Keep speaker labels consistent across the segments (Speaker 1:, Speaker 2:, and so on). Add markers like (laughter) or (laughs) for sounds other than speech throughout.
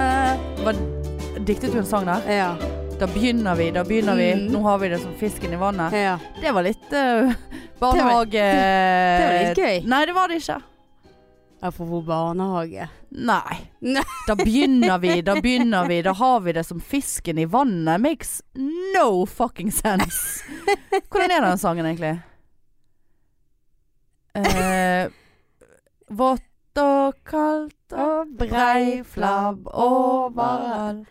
Speaker 1: Eh, diktet jo en sang der.
Speaker 2: Ja.
Speaker 1: Da begynner vi, da begynner vi.
Speaker 2: Mm.
Speaker 1: Nå har vi det som fisken i vannet.
Speaker 2: ja.
Speaker 1: Det var litt eh, (laughs) barnehage... Det
Speaker 2: var litt gøy.
Speaker 1: Nei, det var det ikke.
Speaker 2: Apropos barnehage.
Speaker 1: Nei.
Speaker 2: Nei.
Speaker 1: (laughs) Da begynner vi, da begynner vi. Da har vi det som fisken i vannet. Makes no fucking sense. Hvordan er den sangen egentlig? Eh, Vått og kaldt og
Speaker 2: Og
Speaker 1: brei flabb overalt.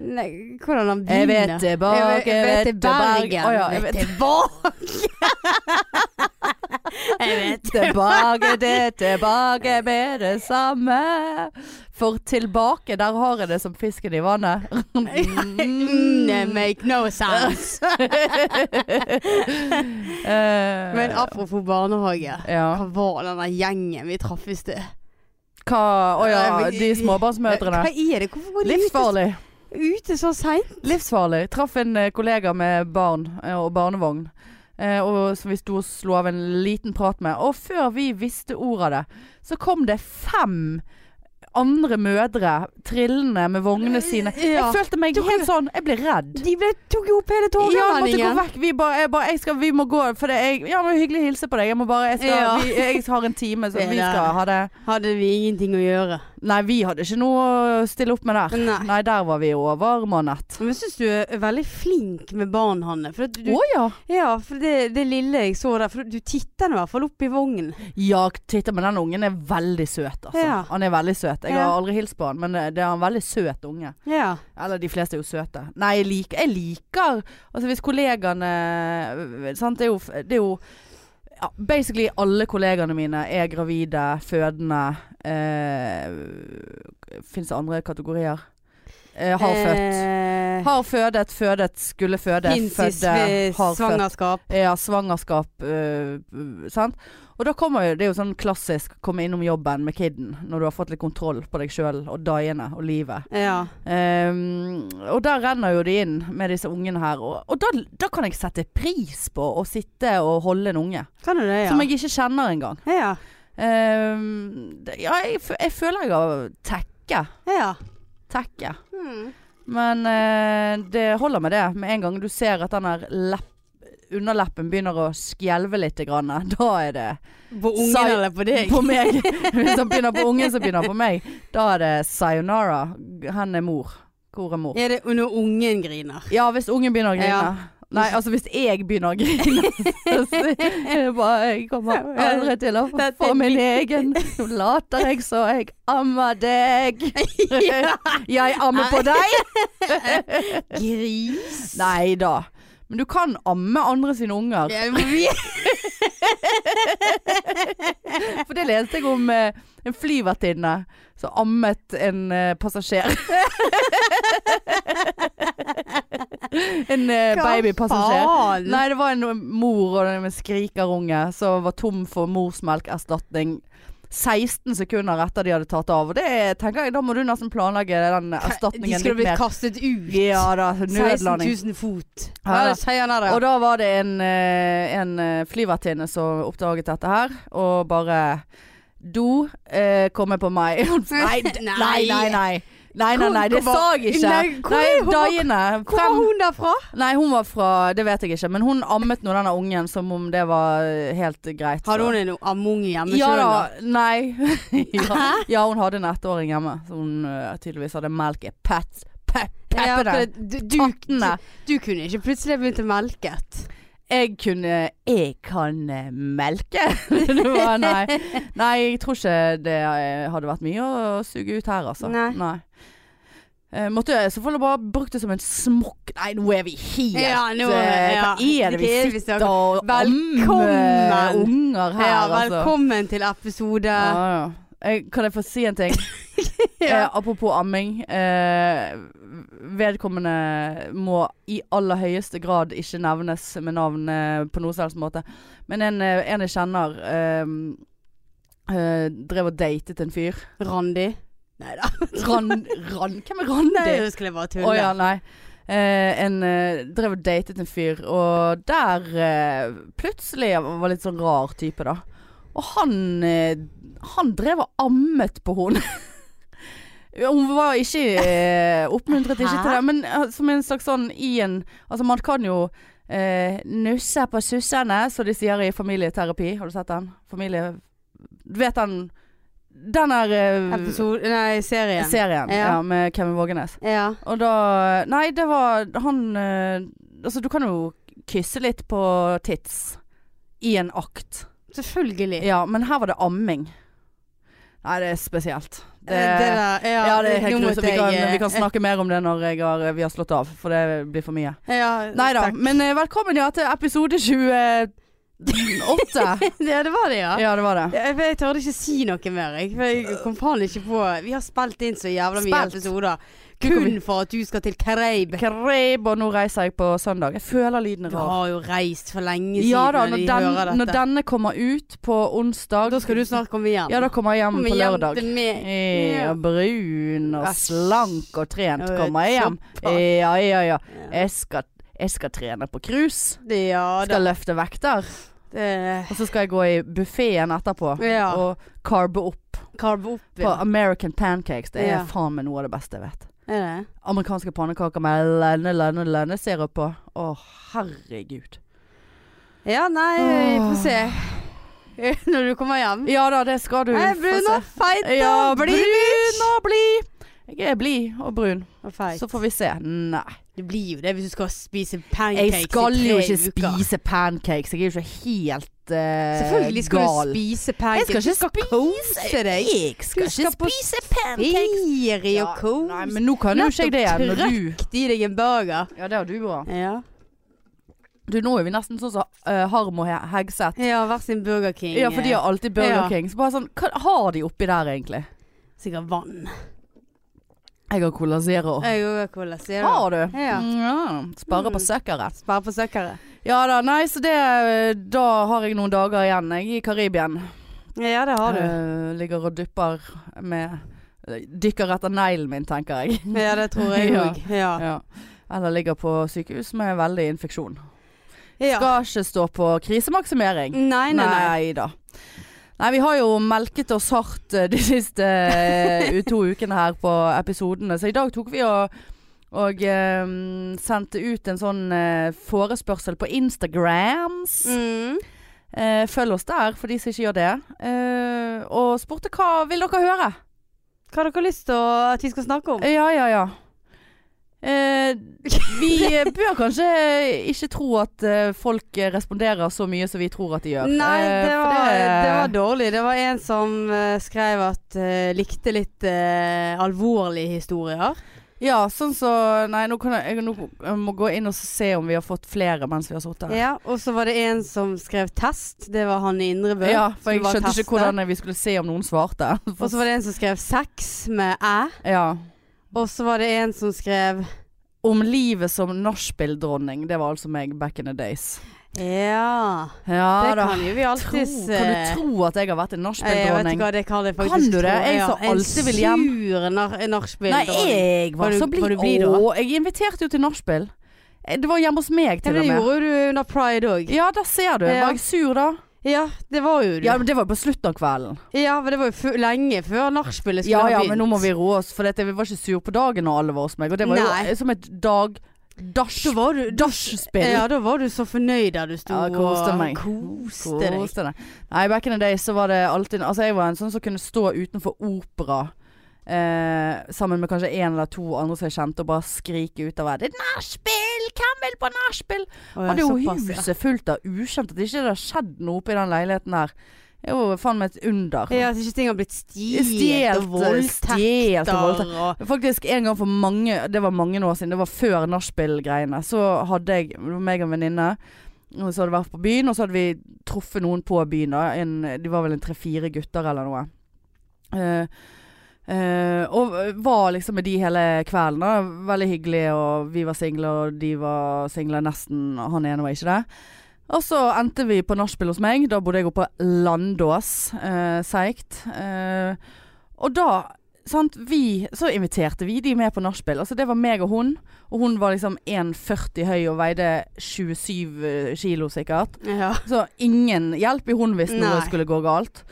Speaker 2: Nei, hvordan han
Speaker 1: Jeg
Speaker 2: begynner.
Speaker 1: vet tilbake,
Speaker 2: Jeg vet- jeg vet
Speaker 1: til Bergen. Å ja, jeg vet (laughs)
Speaker 2: tilbake. jeg vet (laughs)
Speaker 1: tilbake, det tilbake med det samme. For tilbake, der har jeg det som fisken i
Speaker 2: (laughs)
Speaker 1: vannet. (laughs)
Speaker 2: Mm, Make no sense.
Speaker 1: Eh,
Speaker 2: Men apropos barnehage.
Speaker 1: ja.
Speaker 2: Hva var den der gjengen vi traff i sted?
Speaker 1: Hva Å ja,
Speaker 2: Nei, men-
Speaker 1: de småbarnsmødrene.
Speaker 2: Hva er det? Hvorfor var de ute,
Speaker 1: Livsfarlig.
Speaker 2: ute så seint?
Speaker 1: Livsfarlig. Traff en eh, kollega med barn eh, og barnevogn. eh, Og som vi sto og slo av en liten prat med. Og før vi visste ordet av det, så kom det fem andre mødre trillende med vognene sine.
Speaker 2: Ja.
Speaker 1: Jeg følte meg
Speaker 2: Du-
Speaker 1: helt sånn Jeg ble redd.
Speaker 2: De ble, tok jo opp hele
Speaker 1: Ja, jeg måtte gå
Speaker 2: tårnelandingen.
Speaker 1: vekk. Vi bare, jeg bare jeg skal, Vi må gå. For det er ja, men hyggelig å hilse på deg. Jeg må bare Jeg, skal,
Speaker 2: Ja.
Speaker 1: vi, jeg har en time, så
Speaker 2: Det er
Speaker 1: vi
Speaker 2: det.
Speaker 1: skal ha det.
Speaker 2: Hadde vi ingenting å gjøre.
Speaker 1: Nei, vi hadde ikke noe å stille opp med der.
Speaker 2: Nei.
Speaker 1: Nei, der var vi overmannet.
Speaker 2: Men jeg syns du er veldig flink med barn, Hanne. For at du,
Speaker 1: Å ja.
Speaker 2: Ja, for det, det lille jeg så der. For du titter nå i hvert fall opp i vognen.
Speaker 1: Ja, titta, men den ungen er veldig søt, altså.
Speaker 2: Ja.
Speaker 1: Han er veldig søt. Jeg
Speaker 2: Ja.
Speaker 1: har aldri hilst på han, men eh, det er en veldig søt unge.
Speaker 2: Ja.
Speaker 1: Eller de fleste er jo søte. Nei, jeg liker, jeg liker Altså hvis kollegaene eh, Sant, det er jo, det er jo ja, Basically alle kollegaene mine er gravide, fødende eh, Fins det andre kategorier? Eh, har født.
Speaker 2: Eh,
Speaker 1: Har fødet, fødet, skulle føde,
Speaker 2: Fins i
Speaker 1: fødde,
Speaker 2: sve-
Speaker 1: har født.
Speaker 2: svangerskap.
Speaker 1: Ja, svangerskap. øh, øh, sant? Og da kommer jo, det er jo sånn klassisk komme innom jobben med kiden når du har fått litt kontroll på deg sjøl og dagene og livet.
Speaker 2: Ja.
Speaker 1: Ehm, og der renner jo de inn med disse ungene her. Og, og da, da kan jeg sette pris på å sitte og holde en unge
Speaker 2: Kan du det, ja?
Speaker 1: som jeg ikke kjenner engang.
Speaker 2: Ja.
Speaker 1: Ehm, det- ja, jeg, fø- jeg føler jeg har tekke.
Speaker 2: ja.
Speaker 1: Tekke.
Speaker 2: Hmm.
Speaker 1: Men eh, det holder med det. Med en gang du ser at den her lepp, underleppen begynner å skjelve litt, grann, da er det
Speaker 2: På ungen
Speaker 1: Sai-
Speaker 2: eller på deg?
Speaker 1: på meg. (laughs) Hvis han begynner på ungen, så begynner han på meg. Da er det sayonara. Hen er mor. Hvor er mor?
Speaker 2: Er det når ungen
Speaker 1: (laughs)
Speaker 2: griner?
Speaker 1: Ja, hvis ungen begynner å grine.
Speaker 2: Ja.
Speaker 1: Nei, altså hvis jeg begynner å
Speaker 2: (laughs)
Speaker 1: grine, så er det bare Jeg kommer aldri til å
Speaker 2: Dette er
Speaker 1: få min egen. Nå later jeg så jeg ammer deg. Jeg ammer på deg.
Speaker 2: Gris?
Speaker 1: Nei altså. da. Men du kan amme andre sine unger.
Speaker 2: Ja, vi-
Speaker 1: For det leste jeg om eh, en flyvertinne som ammet en eh, passasjer. (laughs) (laughs) en eh,
Speaker 2: Hva
Speaker 1: babypassasjer.
Speaker 2: faen?
Speaker 1: Nei, det var en eh, mor og en skrikerunge som var tom for morsmelkerstatning. 16 sekunder etter de hadde tatt av. Og det tenker jeg, da må du nesten planlegge den
Speaker 2: De
Speaker 1: erstatningen altså,
Speaker 2: skulle
Speaker 1: litt
Speaker 2: blitt
Speaker 1: mer.
Speaker 2: kastet ut.
Speaker 1: Ja da,
Speaker 2: 16
Speaker 1: nødlanding.
Speaker 2: 000 fot.
Speaker 1: Ja,
Speaker 2: Ja,
Speaker 1: da.
Speaker 2: sier han det.
Speaker 1: Og da var det en, eh, en eh, flyvertinne som oppdaget dette her, og bare Do eh, kommer på meg. (laughs) nei,
Speaker 2: (laughs)
Speaker 1: d- nei, nei, nei. Nei, nei, nei, det
Speaker 2: Hvor-
Speaker 1: sa jeg ikke.
Speaker 2: Nei, hvor
Speaker 1: Nei,
Speaker 2: er hun-
Speaker 1: dagene
Speaker 2: Hvor var
Speaker 1: frem
Speaker 2: hun derfra?
Speaker 1: Nei, hun var fra Det vet jeg ikke, men hun ammet nå denne ungen som om det var eh, helt greit.
Speaker 2: Hadde hun en ammung hjemme
Speaker 1: ja
Speaker 2: selv
Speaker 1: da.
Speaker 2: da?
Speaker 1: Nei.
Speaker 2: (laughs)
Speaker 1: (laughs) ja.
Speaker 2: Hæ?
Speaker 1: ja, hun hadde en ettåring hjemme som hun eh, tydeligvis hadde melk i pet, pet,
Speaker 2: Ja, for
Speaker 1: peppene.
Speaker 2: det- du, du,
Speaker 1: Pattene.
Speaker 2: du kunne ikke plutselig begynt å melke.
Speaker 1: jeg kunne Jeg kan eh,
Speaker 2: (laughs)
Speaker 1: melke. (laughs) det var, nei. nei, jeg tror ikke det eh, hadde vært mye å suge ut her, altså.
Speaker 2: Nei.
Speaker 1: Eh, måtte jeg i så fall bare brukt det som en smokk Nei, nå er vi helt
Speaker 2: Ja, nå er vi-
Speaker 1: eh,
Speaker 2: ja.
Speaker 1: Hva er det vi
Speaker 2: Hva er det vi
Speaker 1: sitter
Speaker 2: snakker
Speaker 1: og ammer
Speaker 2: Velkommen.
Speaker 1: unger her,
Speaker 2: Ja,
Speaker 1: altså?
Speaker 2: velkommen til episode
Speaker 1: Ja, ja. Jeg, kan jeg få si en ting? eh, apropos amming. Eh, vedkommende må i aller høyeste grad ikke nevnes med navn eh, på noen som helst måte. Men en, eh, en jeg kjenner eh, eh, drev og datet en fyr.
Speaker 2: Randi. Nei da.
Speaker 1: Ran, ran, hvem er Randi?
Speaker 2: Nei, nå skulle jeg bare
Speaker 1: Å
Speaker 2: tulle.
Speaker 1: ja, nei. Eh, en eh, drev og datet en fyr, og der eh, plutselig var litt sånn rar type, da. Og han eh, Han drev og ammet på henne. (laughs) Ja, Hun var ikke eh, oppmuntret ikke
Speaker 2: Hæ?
Speaker 1: til det, men eh, som en slags sånn i en Altså, man kan jo eh, nusse på sussene, som de sier i familieterapi. Har du sett den? Familie... Du vet den Den er eh,
Speaker 2: Mm. Episode Nei, serien.
Speaker 1: serien ja.
Speaker 2: Ja.
Speaker 1: med Kevin Vågenes.
Speaker 2: ja.
Speaker 1: Og da Nei, det var han eh, Altså, du kan jo kysse litt på tits i en akt.
Speaker 2: Selvfølgelig.
Speaker 1: Ja, men her var det amming. Nei, det er spesielt.
Speaker 2: Eh, Det, det der, ja,
Speaker 1: Ja, det er helt
Speaker 2: nå måtte
Speaker 1: grusomt. Vi,
Speaker 2: jeg,
Speaker 1: kan-
Speaker 2: eh,
Speaker 1: vi kan snakke mer om det når jeg har, vi har slått av, for det blir for mye.
Speaker 2: Ja,
Speaker 1: Nei da,
Speaker 2: takk.
Speaker 1: men eh, velkommen ja, til episode 28.
Speaker 2: (laughs) Ja, det var det, ja.
Speaker 1: Ja, det var det.
Speaker 2: Jeg, jeg tørde ikke si noe mer. Jeg, for jeg kom faen ikke på Vi har spilt inn så jævla mye
Speaker 1: Spilt.
Speaker 2: episoder.
Speaker 1: Kun-
Speaker 2: Kun for at du skal til Kareib.
Speaker 1: Kreib, og nå reiser jeg på søndag. Jeg føler lyden er
Speaker 2: Du
Speaker 1: rar.
Speaker 2: har jo reist for lenge siden
Speaker 1: Ja da,
Speaker 2: når
Speaker 1: når,
Speaker 2: de hører
Speaker 1: den, når
Speaker 2: dette.
Speaker 1: denne kommer ut på onsdag
Speaker 2: da skal du snart komme hjem.
Speaker 1: Ja, da kommer jeg hjem
Speaker 2: Kom
Speaker 1: på
Speaker 2: hjem
Speaker 1: lørdag.
Speaker 2: til meg.
Speaker 1: Ja, brun og
Speaker 2: Æsj.
Speaker 1: slank og trent
Speaker 2: Ja,
Speaker 1: kommer jeg hjem.
Speaker 2: såpass.
Speaker 1: Ja, ja, ja.
Speaker 2: Ja.
Speaker 1: Jeg skal, jeg skal trene på cruise.
Speaker 2: Det- eh, Ja da.
Speaker 1: Skal løfte vekter.
Speaker 2: Det-
Speaker 1: Og så skal jeg gå i buffeen etterpå.
Speaker 2: Ja.
Speaker 1: og carbe opp
Speaker 2: Karb opp.
Speaker 1: på
Speaker 2: Ja.
Speaker 1: American pancakes. Det er
Speaker 2: Ja.
Speaker 1: faen meg noe av det beste jeg vet.
Speaker 2: Er det?
Speaker 1: Amerikanske pannekaker med lønne, lønne, lønnesirup på. Å, herregud.
Speaker 2: Ja, nei, vi får
Speaker 1: Åh.
Speaker 2: se. (laughs) Når du kommer hjem.
Speaker 1: Ja da, det skal du
Speaker 2: Nei, brun
Speaker 1: få
Speaker 2: og
Speaker 1: se.
Speaker 2: feit og
Speaker 1: Ja,
Speaker 2: blid,
Speaker 1: brun
Speaker 2: bitch.
Speaker 1: og blid. Jeg er blid og brun.
Speaker 2: Og feit.
Speaker 1: Så får vi se. Nei.
Speaker 2: Det blir jo det hvis du skal spise pancakes
Speaker 1: Jeg skal
Speaker 2: i tre
Speaker 1: jo ikke
Speaker 2: uker.
Speaker 1: spise pancakes. Jeg er jo ikke helt eh,
Speaker 2: Selvfølgelig skal
Speaker 1: gal.
Speaker 2: du spise
Speaker 1: Jeg
Speaker 2: pancakes.
Speaker 1: skal ikke
Speaker 2: kose deg.
Speaker 1: Jeg skal
Speaker 2: Du
Speaker 1: ikke
Speaker 2: skal på
Speaker 1: spise pancakes.
Speaker 2: Ferie
Speaker 1: Ja,
Speaker 2: og kos.
Speaker 1: nei, men nå kan jo ikke jeg det igjen. Når du
Speaker 2: Nettopp trøkt i deg en burger.
Speaker 1: Ja, det har du òg.
Speaker 2: Ja.
Speaker 1: Du, nå er vi nesten sånn som eh, Harm og He- Hegseth.
Speaker 2: ja, hver sin Burger King. Eh,
Speaker 1: Ja, for de har alltid Burger
Speaker 2: Ja.
Speaker 1: King. Så bare sånn, hva har de oppi der egentlig?
Speaker 2: Sikkert vann.
Speaker 1: Jeg har Cola Zero.
Speaker 2: Jeg òg har cola zero.
Speaker 1: Har du?
Speaker 2: Eh, Ja.
Speaker 1: Mm, Sparer på
Speaker 2: Mm.
Speaker 1: søkere.
Speaker 2: Spare på søkere.
Speaker 1: Ja da, nei, så det eh, Da har jeg noen dager igjen, jeg, i Karibien.
Speaker 2: Ja, det har du.
Speaker 1: Eh, ligger og dypper med Dykker etter neglen min, tenker jeg.
Speaker 2: Ja, det tror jeg
Speaker 1: (laughs) Ja.
Speaker 2: òg. Ja.
Speaker 1: Ja. Eller ligger på sykehus med veldig infeksjon.
Speaker 2: Ja.
Speaker 1: Skal
Speaker 2: Mm.
Speaker 1: ikke stå på krisemaksimering.
Speaker 2: Nei, nei, nei.
Speaker 1: da. Nei, vi har jo melket oss hardt eh, de siste eh, u- to ukene her på episodene. Så i dag tok vi og, og eh, sendte ut en sånn eh, forespørsel på Instagrams.
Speaker 2: Mm.
Speaker 1: Eh, følg oss der for de som ikke gjør det. Eh, og spurte hva vil dere høre?
Speaker 2: Hva har dere lyst til å- at vi skal snakke om?
Speaker 1: Ja, ja, ja. Eh, vi
Speaker 2: (laughs)
Speaker 1: eh, bør kanskje ikke tro at eh, folk eh, responderer så mye som vi tror at de gjør.
Speaker 2: Nei,
Speaker 1: Eh,
Speaker 2: det
Speaker 1: for
Speaker 2: var, det var dårlig. Det var en som eh, skrev at eh, likte litt eh, alvorlige historier.
Speaker 1: Ja, sånn så Nei, nå kan jeg, jeg nå, jeg må gå inn og se om vi har fått flere mens vi har sittet her.
Speaker 2: Ja, og så var det en som skrev test. Det var han i Indrebø.
Speaker 1: Ja, for
Speaker 2: som
Speaker 1: jeg
Speaker 2: var
Speaker 1: skjønte
Speaker 2: testet.
Speaker 1: ikke hvordan vi skulle se om noen svarte.
Speaker 2: (laughs) Og så var det en som skrev sex med æ.
Speaker 1: Ja.
Speaker 2: Og så var det en som skrev
Speaker 1: Om livet som nachspieldronning. Det var altså meg back in the days.
Speaker 2: Ja.
Speaker 1: Ja
Speaker 2: det
Speaker 1: Ah, da.
Speaker 2: kan jo vi
Speaker 1: Tro,
Speaker 2: alltids
Speaker 1: kan du
Speaker 2: eh,
Speaker 1: tro at jeg har vært en
Speaker 2: Jeg vet ikke
Speaker 1: nachspieldronning?
Speaker 2: hva det kan jeg faktisk
Speaker 1: Kan du det?
Speaker 2: tro,
Speaker 1: Jeg
Speaker 2: ja.
Speaker 1: som alltid vil hjem.
Speaker 2: En sur nar-
Speaker 1: Nei,
Speaker 2: nachspieldronning.
Speaker 1: jeg var
Speaker 2: Var du-
Speaker 1: så
Speaker 2: var
Speaker 1: blid.
Speaker 2: du blid da?
Speaker 1: Å, jeg inviterte jo til nachspiel. Eh, Det var hjemme hos meg,
Speaker 2: Ja,
Speaker 1: til
Speaker 2: det
Speaker 1: og med.
Speaker 2: gjorde du under pride òg.
Speaker 1: Ja, der ser du.
Speaker 2: Ja.
Speaker 1: Var jeg sur da?
Speaker 2: Ja, det var jo du.
Speaker 1: Ja, men Det var på slutten av kvelden.
Speaker 2: Ja, men det var jo fu- lenge før nachspielet skulle
Speaker 1: Ja
Speaker 2: ha
Speaker 1: ja,
Speaker 2: begynt.
Speaker 1: men nå må vi roe oss, for dette, vi var ikke sur på dagen når alle var hos meg. Og det var
Speaker 2: Nei.
Speaker 1: jo eh, som et dag...
Speaker 2: Da
Speaker 1: Dash.
Speaker 2: var du
Speaker 1: Dashspill.
Speaker 2: Ja, da var du så fornøyd der du sto
Speaker 1: Ja, koste meg.
Speaker 2: og koste deg.
Speaker 1: Koste deg. Nei, back in the day så var det alltid Altså, jeg var en sånn som kunne stå utenfor opera. Eh, sammen med kanskje en eller to andre som jeg kjente, og bare skrike utover. Det er et nachspiel! Hvem vil på nachspiel?
Speaker 2: Å, ja,
Speaker 1: Hadde jo
Speaker 2: såpass, ja.
Speaker 1: huset fullt av ukjente. At ikke det har skjedd noe oppe i den leiligheten der. Det er jo faen meg et under.
Speaker 2: Ja, at ikke ting har blitt stjålet
Speaker 1: Stjelt
Speaker 2: og
Speaker 1: stjelt og voldtekter.
Speaker 2: voldtekter. og-
Speaker 1: Faktisk en gang for mange Det var mange år siden, det var før nachspiel-greiene. Så hadde jeg, det var meg og en venninne, og så hadde vi vært på byen, og så hadde vi truffet noen på byen. da en, De var vel en tre-fire gutter eller noe. Eh, eh, og var liksom med de hele kvelden. da Veldig hyggelig, og vi var single, og de var single nesten. og Han ene var ikke det. Og så endte vi på nachspiel hos meg. Da bodde jeg oppe på Landås, eh, seigt. Eh, og da sant, vi, så inviterte vi de med på nachspiel. Altså, det var meg og hun. Og hun var liksom 1,40 høy og veide 27 kilo sikkert.
Speaker 2: Ja.
Speaker 1: Så ingen hjelp i hun hvis noe
Speaker 2: Nei.
Speaker 1: skulle gå galt.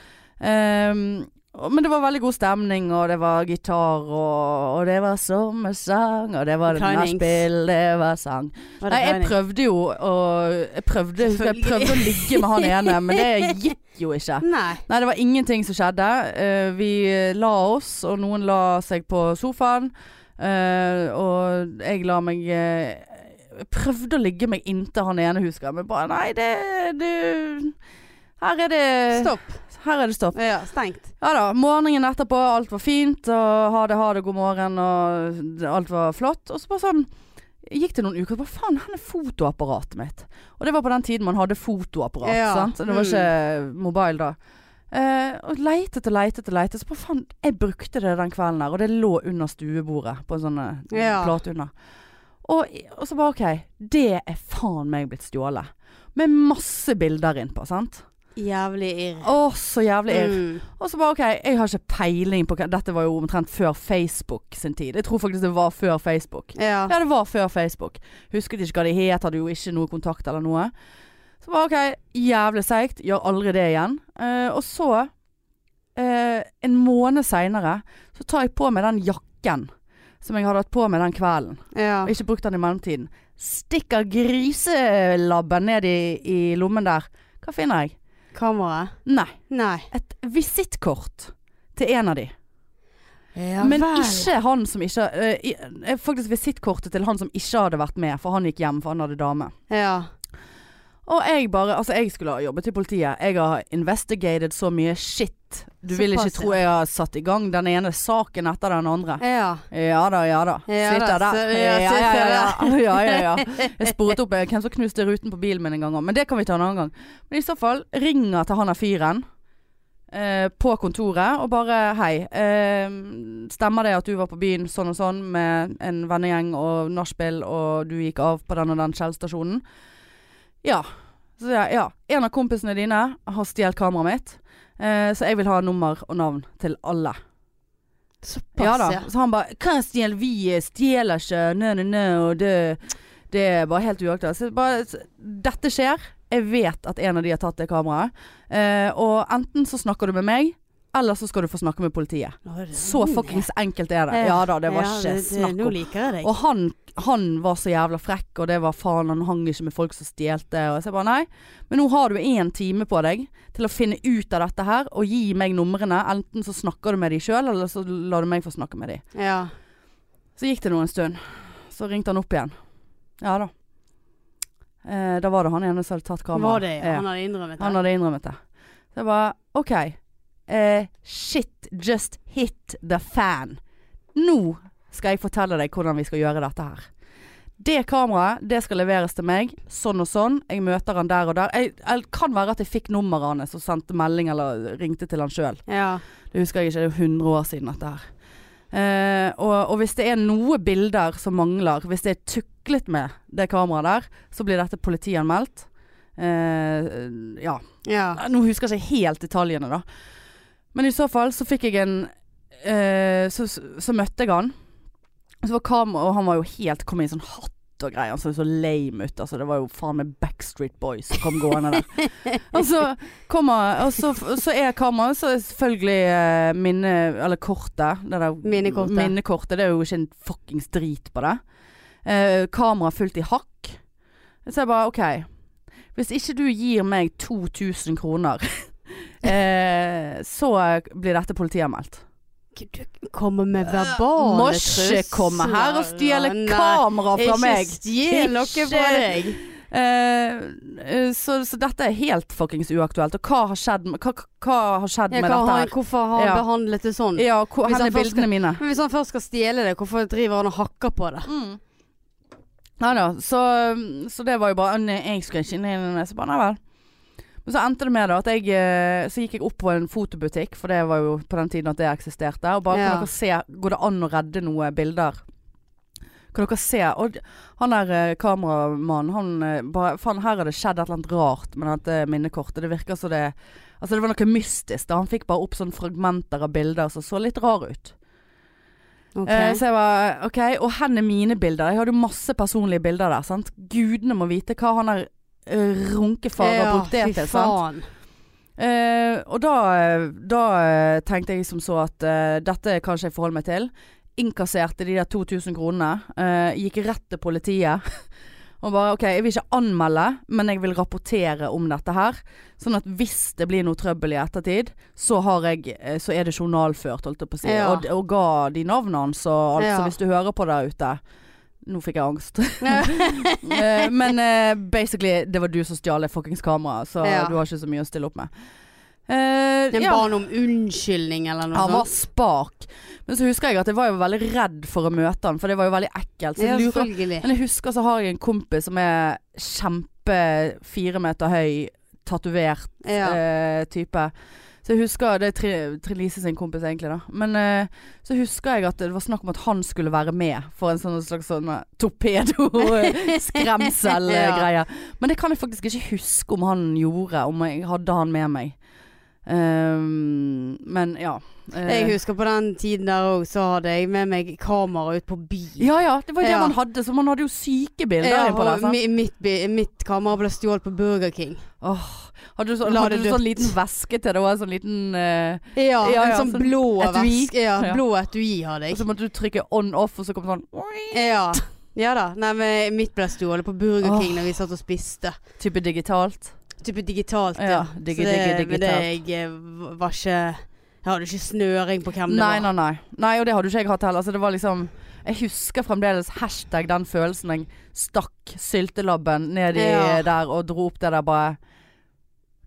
Speaker 1: Ehm, Og- Men det var veldig god stemning, og det var gitar, og, og det var sommersang, og det var
Speaker 2: Kleinings.
Speaker 1: nachspiel, det var sang.
Speaker 2: Var det
Speaker 1: Nei, jeg
Speaker 2: tegning?
Speaker 1: prøvde jo å jeg prøvde, jeg husker jeg
Speaker 2: Selvfølgelig.
Speaker 1: prøvde å ligge med han ene, men det
Speaker 2: (laughs)
Speaker 1: gikk jo ikke.
Speaker 2: Nei.
Speaker 1: Nei, det var ingenting som skjedde. Eh, vi la oss, og noen la seg på sofaen. eh, og jeg la meg eh, jeg Prøvde å ligge meg inntil han ene, husker jeg, men bare Nei, det du Her er det
Speaker 2: Stopp.
Speaker 1: Her er det stopp.
Speaker 2: Ja, stengt.
Speaker 1: Ja da. Morgenen etterpå, alt var fint, og ha det, ha det, god morgen, og alt var flott. Og så bare sånn gikk det noen uker, og bare faen, her er fotoapparatet mitt. Og det var på den tiden man hadde fotoapparat,
Speaker 2: Ja,
Speaker 1: sant. Det
Speaker 2: mm.
Speaker 1: var ikke mobil da. Eh, og leitet og leitet og leitet, så bare faen, jeg brukte det den kvelden her, og det lå under stuebordet på en sånn eh,
Speaker 2: Ja.
Speaker 1: plate under. Og, og så bare OK, det er faen meg blitt stjålet. Med masse bilder innpå, sant.
Speaker 2: Jævlig irr.
Speaker 1: Å, så jævlig irr.
Speaker 2: Mm.
Speaker 1: Og så bare OK, jeg har ikke peiling på hva Dette var jo omtrent før Facebook sin tid. Jeg tror faktisk det var før Facebook.
Speaker 2: Ja.
Speaker 1: Ja, det var før Facebook. Husket ikke hva de het, hadde jo ikke noe kontakt eller noe. Så bare OK, jævlig seigt. Gjør aldri det igjen. Eh, og så, eh, en måned seinere, så tar jeg på meg den jakken som jeg hadde hatt på meg den kvelden.
Speaker 2: ja.
Speaker 1: Og ikke brukt den i mellomtiden. Stikker griselabben ned i, i lommen der. Hva finner jeg?
Speaker 2: Kameraet?
Speaker 1: Nei.
Speaker 2: Nei.
Speaker 1: Et visittkort til en av de.
Speaker 2: Ja
Speaker 1: Men ikke han som ikke eh, i- eh, Faktisk visittkortet til han som ikke hadde vært med, for han gikk hjem, for han hadde dame.
Speaker 2: Ja.
Speaker 1: Og jeg bare Altså, jeg skulle ha jobbet i politiet. Jeg har investigated så mye shit. Du vil ikke
Speaker 2: Såpass,
Speaker 1: tro jeg har satt i gang den ene saken etter den andre.
Speaker 2: Ja.
Speaker 1: Ja da, ja da.
Speaker 2: Ja da,
Speaker 1: sitter der.
Speaker 2: så- ja,
Speaker 1: Ja, ja, ja,
Speaker 2: sitter
Speaker 1: ja, (laughs) ja, ja,
Speaker 2: (laughs)
Speaker 1: ja. Jeg sporet opp eh, hvem som knuste ruten på bilen min en gang òg, men det kan vi ta en annen gang. Men i så fall ringer til han av fyren eh, på kontoret og bare Hei, eh, stemmer det at du var på byen sånn og sånn med en vennegjeng og nachspiel, og du gikk av på den og den Shell-stasjonen? Ja. Så sier jeg ja. En av kompisene dine har stjålet kameraet mitt, eh, så jeg vil ha nummer og navn til alle.
Speaker 2: Såpass,
Speaker 1: Ja
Speaker 2: ja.
Speaker 1: da. Så han bare 'Hva stjeler vi? eh, Stjeler ikke Nø, nø, nø Og det, det er bare helt uaktuelt. Så jeg bare s- Dette skjer. Jeg vet at en av de har tatt det kameraet. Eh, og enten så snakker du med meg, eller så skal du få snakke med politiet.
Speaker 2: Nå er det
Speaker 1: Så
Speaker 2: rolig.
Speaker 1: fuckings enkelt er
Speaker 2: Ja.
Speaker 1: det. Ja da, det var
Speaker 2: Ja,
Speaker 1: ikke
Speaker 2: det- det-
Speaker 1: snakk
Speaker 2: Nå
Speaker 1: om.
Speaker 2: liker jeg deg.
Speaker 1: Og han, han var så jævla frekk, og det var faen, han hang ikke med folk som stjelte. Og så jeg bare nei, men nå har du én time på deg til å finne ut av dette her, og gi meg numrene. Enten så snakker du med de sjøl, eller så lar du meg få snakke med de.
Speaker 2: Ja.
Speaker 1: Så gikk det nå en stund. Så ringte han opp igjen. Ja da. Eh, da var det han ene som hadde tatt kameraet.
Speaker 2: Var det, ja.
Speaker 1: Ja.
Speaker 2: Han hadde innrømmet det.
Speaker 1: Han hadde innrømmet det. Så jeg bare OK. Eh, shit just hit the fan. Nå skal jeg fortelle deg hvordan vi skal gjøre dette her. Det kameraet det skal leveres til meg, sånn og sånn. Jeg møter han der og der. Jeg, jeg kan være at jeg fikk nummeret hans og sendte melding eller ringte til han sjøl.
Speaker 2: Ja.
Speaker 1: Det husker jeg ikke, det er jo 100 år siden dette her. Eh, og, og hvis det er noe bilder som mangler, hvis det er tuklet med det kameraet der, så blir dette politianmeldt. Eh, ja.
Speaker 2: Ja.
Speaker 1: Nå husker jeg ikke helt detaljene, da. Men i så fall så fikk jeg en eh, så, så så møtte jeg han. Så var kam, og han var jo helt kom i en sånn hatt og greier. Han så jo så lame ut. Altså, det var jo faen meg Backstreet Boys som kom gående der.
Speaker 2: (laughs)
Speaker 1: og så kommer Og så, så er kameraet, så er selvfølgelig eh, minne... Eller kortet. Det der
Speaker 2: Minnekortet.
Speaker 1: minnekortet. Det er jo ikke en fuckings drit på det. Eh, kamera fullt i hakk. Så jeg bare OK. Hvis ikke du gir meg 2000 kroner, (laughs) eh, så blir dette politianmeldt.
Speaker 2: Gud, Du kommer med verbale
Speaker 1: Må ikke komme her og stjele kamera fra meg!
Speaker 2: Ikke stjel noe
Speaker 1: Ikke.
Speaker 2: fra deg.
Speaker 1: Eh, eh, så, så dette er helt fuckings uaktuelt. Og hva har skjedd med, hva, hva har skjedd
Speaker 2: Ja,
Speaker 1: med
Speaker 2: hva
Speaker 1: dette
Speaker 2: har-
Speaker 1: her?
Speaker 2: hvorfor har han
Speaker 1: Ja.
Speaker 2: behandlet det sånn?
Speaker 1: Ja, hvor,
Speaker 2: Hvis
Speaker 1: hvor
Speaker 2: han
Speaker 1: er
Speaker 2: først skal-
Speaker 1: bildene mine?
Speaker 2: Men Hvis han først skal stjele det, hvorfor driver han og hakker på det?
Speaker 1: Mm. Nei da, så, så det var jo bare Nei, jeg skal ikke inn i den så bare, nei vel. Men så endte det med da at jeg eh, Så gikk jeg opp på en fotobutikk, for det var jo på den tiden at det eksisterte. Og bare
Speaker 2: Ja.
Speaker 1: kan dere se Går det an å redde noen bilder? Kan dere se Og d- han der eh, kameramannen, han eh, bare Faen, her har det skjedd et eller annet rart med dette minnekortet. Det virker som det Altså, det var noe mystisk. da Han fikk bare opp sånne fragmenter av bilder som så litt rar ut.
Speaker 2: Ok.
Speaker 1: Eh, Så jeg var OK. Og hen er mine bilder? Jeg hadde jo masse personlige bilder der. sant? Gudene må vite hva han der eh, runkefar har brukt det
Speaker 2: fy
Speaker 1: til. sant?
Speaker 2: faen.
Speaker 1: Eh, og da, da eh, tenkte jeg som så at eh, dette kan ikke jeg forholde meg til. Innkasserte de der 2000 kronene. eh, gikk rett til politiet. (laughs) Og bare OK, jeg vil ikke anmelde, men jeg vil rapportere om dette her. Sånn at hvis det blir noe trøbbel i ettertid, så, har jeg, eh, så er det journalført, holdt jeg på å si.
Speaker 2: Ja.
Speaker 1: Og, og ga de navnene hans og alt.
Speaker 2: Ja.
Speaker 1: Så hvis du hører på der ute Nå fikk jeg
Speaker 2: (laughs)
Speaker 1: angst. (laughs) Eh, men eh, basically, det var du som stjal det fuckings kameraet, så
Speaker 2: Ja.
Speaker 1: du har ikke så mye å stille opp med. Eh,
Speaker 2: Den
Speaker 1: ja,
Speaker 2: ba han om unnskyldning eller noe
Speaker 1: han var
Speaker 2: sånt.
Speaker 1: spak. Men så husker jeg at jeg var jo veldig redd for å møte han, for det var jo veldig ekkelt. Så
Speaker 2: Ja,
Speaker 1: jeg lurer.
Speaker 2: selvfølgelig.
Speaker 1: Men jeg husker så har jeg en kompis som er kjempe fire meter høy, tatovert
Speaker 2: Ja.
Speaker 1: eh, type. Så jeg husker, Det er Tri- Trine Lise sin kompis, egentlig. da Men eh, så husker jeg at det var snakk om at han skulle være med for en sånn slags sånn
Speaker 2: (laughs)
Speaker 1: torpedo-skremsel-greie. Men det kan jeg faktisk ikke huske om han gjorde, om jeg hadde han med meg. Ehm, men ja. Eh,
Speaker 2: Jeg husker på den tiden der òg, så hadde jeg med meg kamera ut på byen.
Speaker 1: ja ja, det var jo det
Speaker 2: Ja.
Speaker 1: man hadde. Så man hadde jo syke bilder
Speaker 2: Ja,
Speaker 1: på det.
Speaker 2: og
Speaker 1: sant?
Speaker 2: mi- mitt, bi- mitt kamera ble stjålet på Burger King.
Speaker 1: Åh, hadde du, så,
Speaker 2: La
Speaker 1: hadde
Speaker 2: det
Speaker 1: du sånn
Speaker 2: dødt.
Speaker 1: liten veske til det òg? Sånn liten eh,
Speaker 2: Ja,
Speaker 1: Ja, ja,
Speaker 2: en sånn
Speaker 1: sånn
Speaker 2: blå
Speaker 1: etui.
Speaker 2: veske. Ja,
Speaker 1: Ja.
Speaker 2: blå etui hadde
Speaker 1: Og så
Speaker 2: jeg.
Speaker 1: måtte du trykke on off, og så kom det sånn
Speaker 2: (laughs) Ja. ja da. Nei, men mitt ble stjålet på Burger
Speaker 1: Åh.
Speaker 2: King da vi satt og spiste.
Speaker 1: Type digitalt.
Speaker 2: Type digitalt,
Speaker 1: Ja,
Speaker 2: ja.
Speaker 1: digge,
Speaker 2: så det,
Speaker 1: digge,
Speaker 2: men det jeg eh, var ikke Jeg hadde ikke snøring på hvem det
Speaker 1: Nei, nei,
Speaker 2: var.
Speaker 1: nei. Nei, Og det hadde jo ikke jeg hatt heller. Så det var liksom Jeg husker fremdeles hashtag den følelsen jeg stakk syltelabben ned i
Speaker 2: Ja.
Speaker 1: der og dro opp det der bare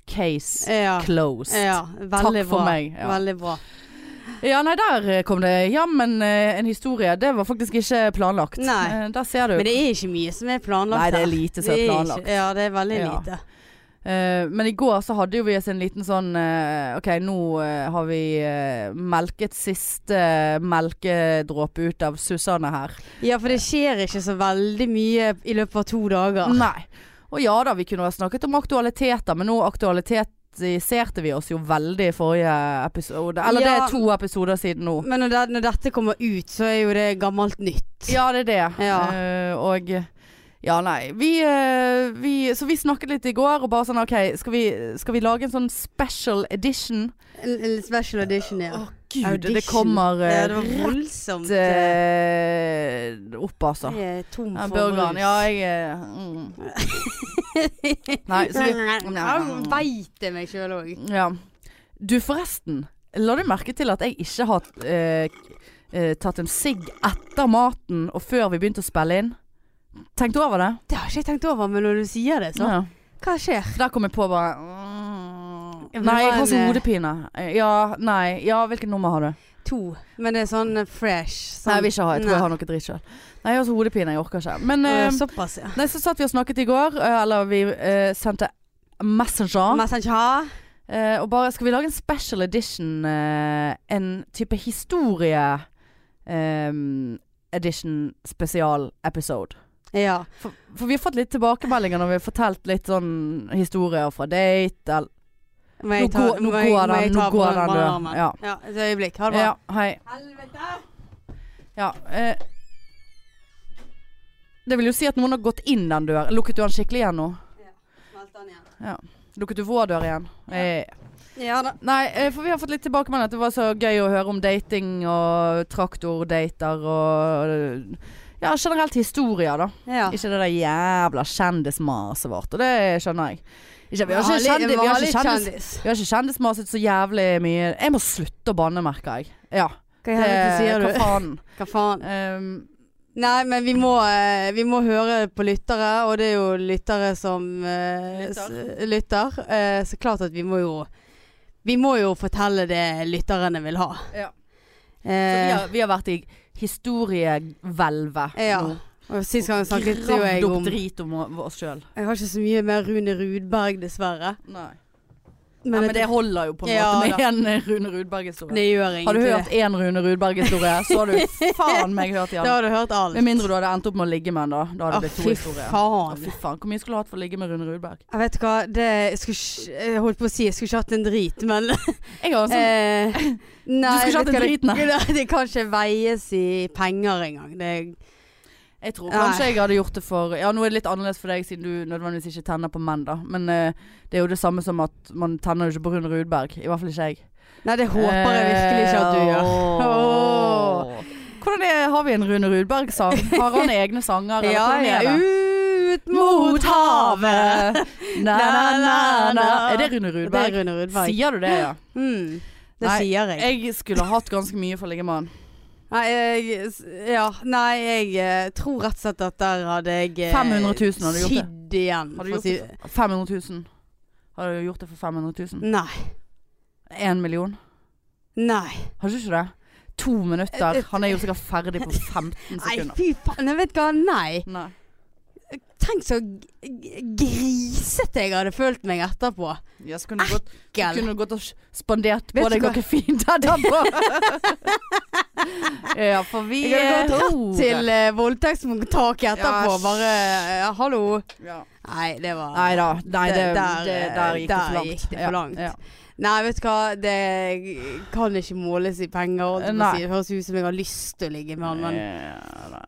Speaker 1: Case
Speaker 2: Ja.
Speaker 1: closed.
Speaker 2: ja.
Speaker 1: Takk
Speaker 2: Veldig
Speaker 1: for
Speaker 2: bra.
Speaker 1: meg. Ja.
Speaker 2: Veldig bra.
Speaker 1: ja, nei, der eh, kom det jammen eh, en historie. Det var faktisk ikke planlagt.
Speaker 2: Nei.
Speaker 1: Eh, Der ser du.
Speaker 2: Men det er ikke mye som er planlagt
Speaker 1: Nei, det er
Speaker 2: her.
Speaker 1: lite som er
Speaker 2: ikke-
Speaker 1: planlagt.
Speaker 2: Ja, det er veldig
Speaker 1: Ja.
Speaker 2: lite.
Speaker 1: Eh, men i går så hadde jo vi oss en liten sånn eh, Ok, nå eh, har vi eh, melket siste melkedråpe ut av Susanne her.
Speaker 2: Ja, for det skjer ikke så veldig mye i løpet av to dager.
Speaker 1: Nei. Og ja da, vi kunne ha snakket om aktualiteter, men nå aktualiserte vi oss jo veldig i forrige episode. Eller det
Speaker 2: Ja.
Speaker 1: er to episoder siden nå.
Speaker 2: Men når, det, når dette kommer ut, så er jo det gammelt nytt.
Speaker 1: Ja, det er det.
Speaker 2: Ja.
Speaker 1: Eh, og ja, nei. Vi, eh, vi, så vi snakket litt i går, og bare sånn OK, skal vi, skal vi lage en sånn special edition?
Speaker 2: En, en special edition, ja.
Speaker 1: Å, gud, det
Speaker 2: Audition.
Speaker 1: kommer eh,
Speaker 2: ja, det var voldsomt.
Speaker 1: rett eh, opp, altså.
Speaker 2: Jeg er tom
Speaker 1: Ja,
Speaker 2: for
Speaker 1: burgeren.
Speaker 2: brus.
Speaker 1: Ja,
Speaker 2: (laughs)
Speaker 1: jeg eh, mm. Nei, så vi
Speaker 2: Jeg veit det meg sjøl òg.
Speaker 1: Ja. Du, forresten. La du merke til at jeg ikke har eh, eh, tatt en sigg etter maten og før vi begynte å spille inn? Tenkte du over det?
Speaker 2: Det har ikke jeg tenkt over, men når du sier det, så
Speaker 1: Ja.
Speaker 2: Hva skjer?
Speaker 1: Der kom jeg på bare mm.
Speaker 2: Ja, men
Speaker 1: Nei,
Speaker 2: det
Speaker 1: jeg
Speaker 2: var
Speaker 1: har sånn
Speaker 2: en, eh,
Speaker 1: hodepine. Eh, Ja, nei. Ja, hvilket nummer har du?
Speaker 2: To. Men det er sånn eh, fresh. Sånn.
Speaker 1: Nei, jeg vil ikke ha. Jeg tror jeg
Speaker 2: Nei.
Speaker 1: har noe dritt sjøl. Nei, jeg har så hodepine. Jeg orker ikke. Men
Speaker 2: Å, ja,
Speaker 1: eh,
Speaker 2: Såpass, ja.
Speaker 1: Nei, så satt vi og snakket i går, eh, eller vi eh, sendte Messenger.
Speaker 2: Messenger.
Speaker 1: Eh, og bare skal vi lage en special edition, eh, en type historie eh, edition spesial episode.
Speaker 2: Ja.
Speaker 1: For, for vi har fått litt tilbakemeldinger når vi har fortalt litt sånn historier fra date. Eller,
Speaker 2: Må
Speaker 1: nå,
Speaker 2: jeg ta-
Speaker 1: går- nå
Speaker 2: må jeg-
Speaker 1: går
Speaker 2: må jeg
Speaker 1: den, nå
Speaker 2: ta
Speaker 1: går den,
Speaker 2: brannalarmen?
Speaker 1: du. Ja.
Speaker 2: Ja, et øyeblikk. Ha det bra.
Speaker 1: ja, hei.
Speaker 2: Helvete!
Speaker 1: Ja, eh, det vil jo si at noen har gått inn den døren. Lukket du den skikkelig igjen nå?
Speaker 2: Meldte han igjen.
Speaker 1: Lukket du vår dør igjen? Eh,
Speaker 2: Ja da.
Speaker 1: Nei, eh, for vi har fått litt tilbakemelding at det var så gøy å høre om dating og traktordater og eh, Ja, generelt historier, da.
Speaker 2: Ja.
Speaker 1: Ikke det der jævla kjendismaset vårt, og det skjønner jeg. Ikke, vi har
Speaker 2: Var
Speaker 1: ikke,
Speaker 2: litt-
Speaker 1: kjendi, vi
Speaker 2: var
Speaker 1: har
Speaker 2: litt
Speaker 1: ikke, kjendis, vi har ikke kjendismaset så jævlig mye. Jeg må slutte å banne, merker jeg. Ja.
Speaker 2: Hva i helvete sier
Speaker 1: hva
Speaker 2: du?
Speaker 1: faen?
Speaker 2: Hva faen?
Speaker 1: Ehm,
Speaker 2: Nei, men vi må, eh, vi må høre på lyttere, og det er jo lyttere som eh, s- lytter. Eh, så klart at vi må jo Vi må jo fortelle det lytterne vil ha.
Speaker 1: Ja. så vi,
Speaker 2: Eh,
Speaker 1: har, vi har vært i historiehvelvet
Speaker 2: Ja,
Speaker 1: nå.
Speaker 2: og Sist gang snakket jo jeg
Speaker 1: Gravd opp
Speaker 2: om
Speaker 1: drit om o- oss sjøl.
Speaker 2: Jeg har ikke så mye mer Rune Rudberg, dessverre.
Speaker 1: Nei.
Speaker 2: Men,
Speaker 1: Men,
Speaker 2: det-
Speaker 1: men det holder jo på en
Speaker 2: Ja,
Speaker 1: måte med en Rune Rudberg-historie.
Speaker 2: det gjør ingenting.
Speaker 1: Har du hørt én Rune Rudberg-historie, så har
Speaker 2: (laughs)
Speaker 1: du faen meg hørt
Speaker 2: Da
Speaker 1: igjen.
Speaker 2: har du hørt alt.
Speaker 1: Med mindre du hadde endt opp med å ligge med en, da. Da hadde
Speaker 2: Å,
Speaker 1: det blitt to
Speaker 2: fy
Speaker 1: historier. Å,
Speaker 2: faen.
Speaker 1: Fy faen. Hvor mye skulle du hatt for å ligge med Rune Rudberg?
Speaker 2: Jeg vet hva, det jeg skulle, ikke- jeg holdt på å si jeg skulle ikke hatt en drit, men
Speaker 1: (laughs) Jeg har en sånn
Speaker 2: eh, nei,
Speaker 1: Du skulle ikke hatt en
Speaker 2: vet (laughs)
Speaker 1: drit, nei.
Speaker 2: hva, det, det kan ikke veies i penger engang. Det,
Speaker 1: Jeg tror
Speaker 2: Nei.
Speaker 1: kanskje jeg hadde gjort det for Ja, nå er det litt annerledes for deg siden du nødvendigvis ikke tenner på menn, da. Men eh, det er jo det samme som at man tenner jo ikke på Rune Rudberg. I hvert fall ikke jeg.
Speaker 2: Nei, det håper jeg virkelig ikke at du gjør.
Speaker 1: Eh, åh. Hvordan er, har vi en Rune Rudberg-sang? Har
Speaker 2: (laughs)
Speaker 1: han egne sanger? eller
Speaker 2: Ja,
Speaker 1: hvordan er
Speaker 2: ja.
Speaker 1: det?
Speaker 2: Ut mot havet!
Speaker 1: Na, na, na, na. Er det Rune
Speaker 2: Det er
Speaker 1: Rudberg?
Speaker 2: Rune Rudberg.
Speaker 1: Sier du det, ja?
Speaker 2: Mm. Det
Speaker 1: Nei,
Speaker 2: sier jeg.
Speaker 1: Jeg skulle hatt ganske mye for å ligge med han.
Speaker 2: Nei, jeg, ja, nei, jeg eh, tror rett og slett at der hadde jeg eh,
Speaker 1: 500 000 hadde du gjort det.
Speaker 2: sydd igjen.
Speaker 1: Har du
Speaker 2: for å
Speaker 1: gjort
Speaker 2: si- Mm.
Speaker 1: det for 500 000? Har du gjort det for 500 000?
Speaker 2: Nei.
Speaker 1: Én million?
Speaker 2: Nei.
Speaker 1: Har du ikke det? To minutter. Han er jo sikkert ferdig på 15
Speaker 2: Nei,
Speaker 1: sekunder.
Speaker 2: fy faen. Nei, vet du hva. Nei.
Speaker 1: Nei.
Speaker 2: Tenk så g- g- grisete jeg hadde følt meg etterpå.
Speaker 1: Ja, så kunne du gått, så
Speaker 2: Gell.
Speaker 1: kunne du gått og s- spandert på
Speaker 2: Vet du
Speaker 1: deg
Speaker 2: hva?
Speaker 1: noe fint
Speaker 2: (laughs)
Speaker 1: etterpå. ja, for vi
Speaker 2: Jeg hadde gått
Speaker 1: eh,
Speaker 2: rett til eh, voldtektsmottaket etterpå.
Speaker 1: Ja, sj-
Speaker 2: Bare ja, hallo.
Speaker 1: ja.
Speaker 2: Nei, det var
Speaker 1: Nei da. Nei, det,
Speaker 2: Det-
Speaker 1: det,
Speaker 2: der, eh,
Speaker 1: der gikk det
Speaker 2: der
Speaker 1: for langt.
Speaker 2: gikk det for
Speaker 1: Ja,
Speaker 2: langt.
Speaker 1: Ja,
Speaker 2: Nei, vet du hva. Det kan ikke måles i penger. holdt jeg på å
Speaker 1: Nei.
Speaker 2: si. Det høres ut som jeg har lyst til å ligge med han, men
Speaker 1: Ja, da.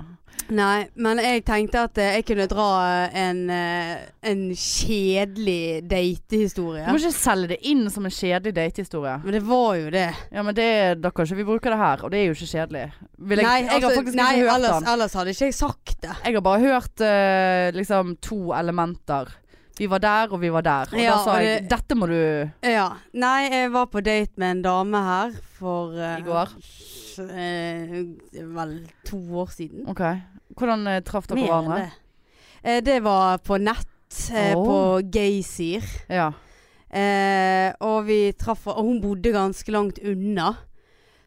Speaker 2: Nei, men jeg tenkte at eh, jeg kunne dra eh, en, eh, en kjedelig
Speaker 1: Du
Speaker 2: datehistorie.
Speaker 1: må ikke selge det inn som en kjedelig datehistorie.
Speaker 2: Men det var jo det.
Speaker 1: Ja, men det, da kan ikke vi bruke det her, og det er jo ikke kjedelig. Vil jeg, jeg har
Speaker 2: altså,
Speaker 1: faktisk
Speaker 2: nei,
Speaker 1: ikke hørt den.
Speaker 2: ellers, Ellers hadde ikke jeg sagt det.
Speaker 1: Jeg har bare hørt eh, liksom to elementer. Vi var der, og vi var der. Og
Speaker 2: Ja,
Speaker 1: da sa
Speaker 2: og
Speaker 1: jeg
Speaker 2: det-
Speaker 1: 'dette må du'
Speaker 2: Ja. Nei, jeg var på date med en dame her for eh,
Speaker 1: i går.
Speaker 2: eh, vel to år siden.
Speaker 1: Ok. Hvordan eh, traff dere
Speaker 2: Mer enn
Speaker 1: hverandre?
Speaker 2: det. Eh, det var på nett. eh,
Speaker 1: Åh.
Speaker 2: På Geysir.
Speaker 1: Ja.
Speaker 2: Eh, og vi traff Og hun bodde ganske langt unna.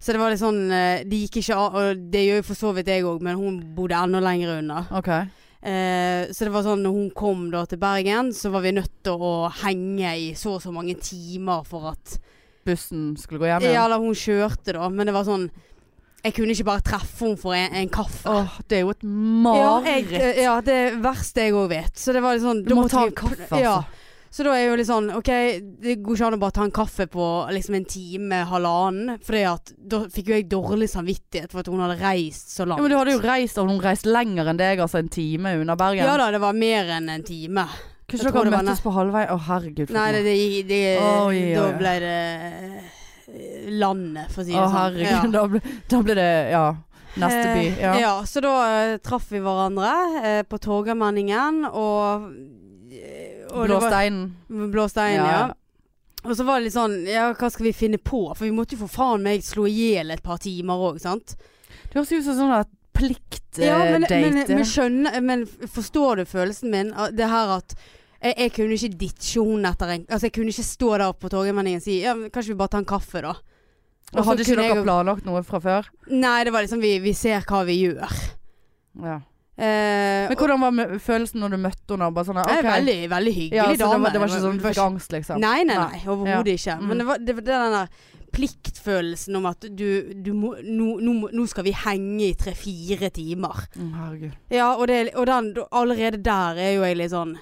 Speaker 2: Så det var litt sånn eh, Det gikk ikke av, og det gjør jo for så vidt jeg òg, men hun bodde enda lenger unna.
Speaker 1: Ok.
Speaker 2: Eh, så det var sånn når hun kom da til Bergen, så var vi nødt til å henge i så og så mange timer for at
Speaker 1: Bussen skulle gå hjem
Speaker 2: Ja,
Speaker 1: igjen?
Speaker 2: eller hun kjørte, da, men det var sånn Jeg kunne ikke bare treffe henne for en, en kaffe.
Speaker 1: Åh, det er jo et
Speaker 2: Ja,
Speaker 1: mareritt.
Speaker 2: jeg, eh, ja, det er verste jeg òg vet. Så det var litt sånn
Speaker 1: du
Speaker 2: da
Speaker 1: må
Speaker 2: måtte
Speaker 1: ta
Speaker 2: vi-
Speaker 1: en kaffe,
Speaker 2: Ja,
Speaker 1: altså.
Speaker 2: så da er jeg jo litt sånn OK, det går ikke an å bare ta en kaffe på liksom en time, halvannen. For da fikk jo jeg dårlig samvittighet for at hun hadde reist så langt.
Speaker 1: Ja, men du hadde jo reist, og hun reiste lenger enn deg, altså en time unna Bergen.
Speaker 2: Ja da, det var mer enn en time. jeg
Speaker 1: Kanskje
Speaker 2: tror
Speaker 1: dere
Speaker 2: det var
Speaker 1: møttes på halvvei? Å, herregud.
Speaker 2: Nei, det, det, det,
Speaker 1: Oi, oi,
Speaker 2: da
Speaker 1: oi.
Speaker 2: ble det eh, landet, for å si det
Speaker 1: Å,
Speaker 2: sånn.
Speaker 1: herregud. Da, ble, da ble det Ja. Neste by.
Speaker 2: Eh,
Speaker 1: Ja.
Speaker 2: ja, så da eh, traff vi hverandre eh, på Torgallmenningen og, eh, og det
Speaker 1: Blå
Speaker 2: var-
Speaker 1: steinen.
Speaker 2: Blå stein, ja.
Speaker 1: Ja.
Speaker 2: Og så var det litt sånn, ja, hva skal vi finne på? For vi måtte jo for faen meg slå i hjel et par timer òg, sant?
Speaker 1: Det høres ut som sånn at eh, pliktdate.
Speaker 2: Ja, men, men, men, skjønner, men forstår du følelsen min? av Det her at jeg, jeg kunne ikke ditche hun etter en Altså, jeg kunne ikke stå der på Torgallmenningen og si ja, men kanskje vi bare tar en kaffe, da. Og så
Speaker 1: hadde ikke
Speaker 2: kunne
Speaker 1: dere
Speaker 2: jeg-
Speaker 1: planlagt noe fra før?
Speaker 2: Nei, det var liksom vi, vi ser hva vi gjør.
Speaker 1: Ja.
Speaker 2: Eh,
Speaker 1: Men hvordan var mø- følelsen når du møtte henne? Bare sånn,
Speaker 2: og-
Speaker 1: ok.
Speaker 2: Nei, Veldig, veldig hyggelig
Speaker 1: ja, så det,
Speaker 2: dame.
Speaker 1: var, det var ikke sånn du fikk angst, liksom?
Speaker 2: Nei, nei, nei. Overhodet ikke.
Speaker 1: Mm.
Speaker 2: Men det var, det var den der pliktfølelsen om at du, du må, nå, nå, må- nå skal vi henge i tre-fire timer.
Speaker 1: Å, Mm, Herregud.
Speaker 2: Ja, og, det, og den, allerede der er jo jeg litt sånn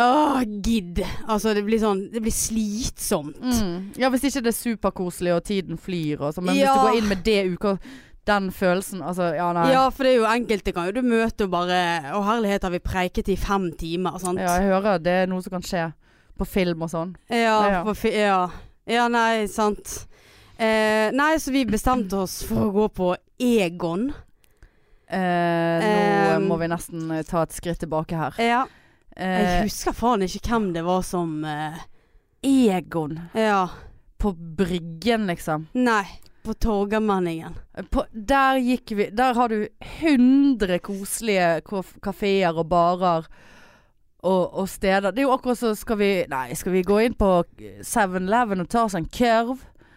Speaker 2: Åh, gidd. Altså, det blir sånn Det blir slitsomt.
Speaker 1: Mm. Ja, hvis ikke det er superkoselig og tiden flyr og sånn, men hvis
Speaker 2: Ja.
Speaker 1: du går inn med det uka Den følelsen, altså ja, nei.
Speaker 2: Ja, for det er jo enkelte kan jo du møte og bare Å herlighet, har vi preiket i fem timer, sant?
Speaker 1: Ja, jeg hører det er noe som kan skje på film og sånn.
Speaker 2: Ja,
Speaker 1: Ja.
Speaker 2: på fi- ja. ja nei, sant. Eh, nei, så vi bestemte oss for å gå på Egon.
Speaker 1: Eh, nå
Speaker 2: Um,
Speaker 1: må vi nesten eh, ta et skritt tilbake her.
Speaker 2: Ja. Jeg
Speaker 1: Eh,
Speaker 2: husker faen ikke hvem det var som eh,
Speaker 1: Egon
Speaker 2: Ja.
Speaker 1: på Bryggen, liksom. Eh,
Speaker 2: Nei. På Torgallmenningen.
Speaker 1: På, der gikk vi Der har du 100 koselige kof- kafeer og barer og, og steder. Det er jo akkurat så skal vi Nei, skal vi gå inn på 7-Eleven og ta oss en kurv?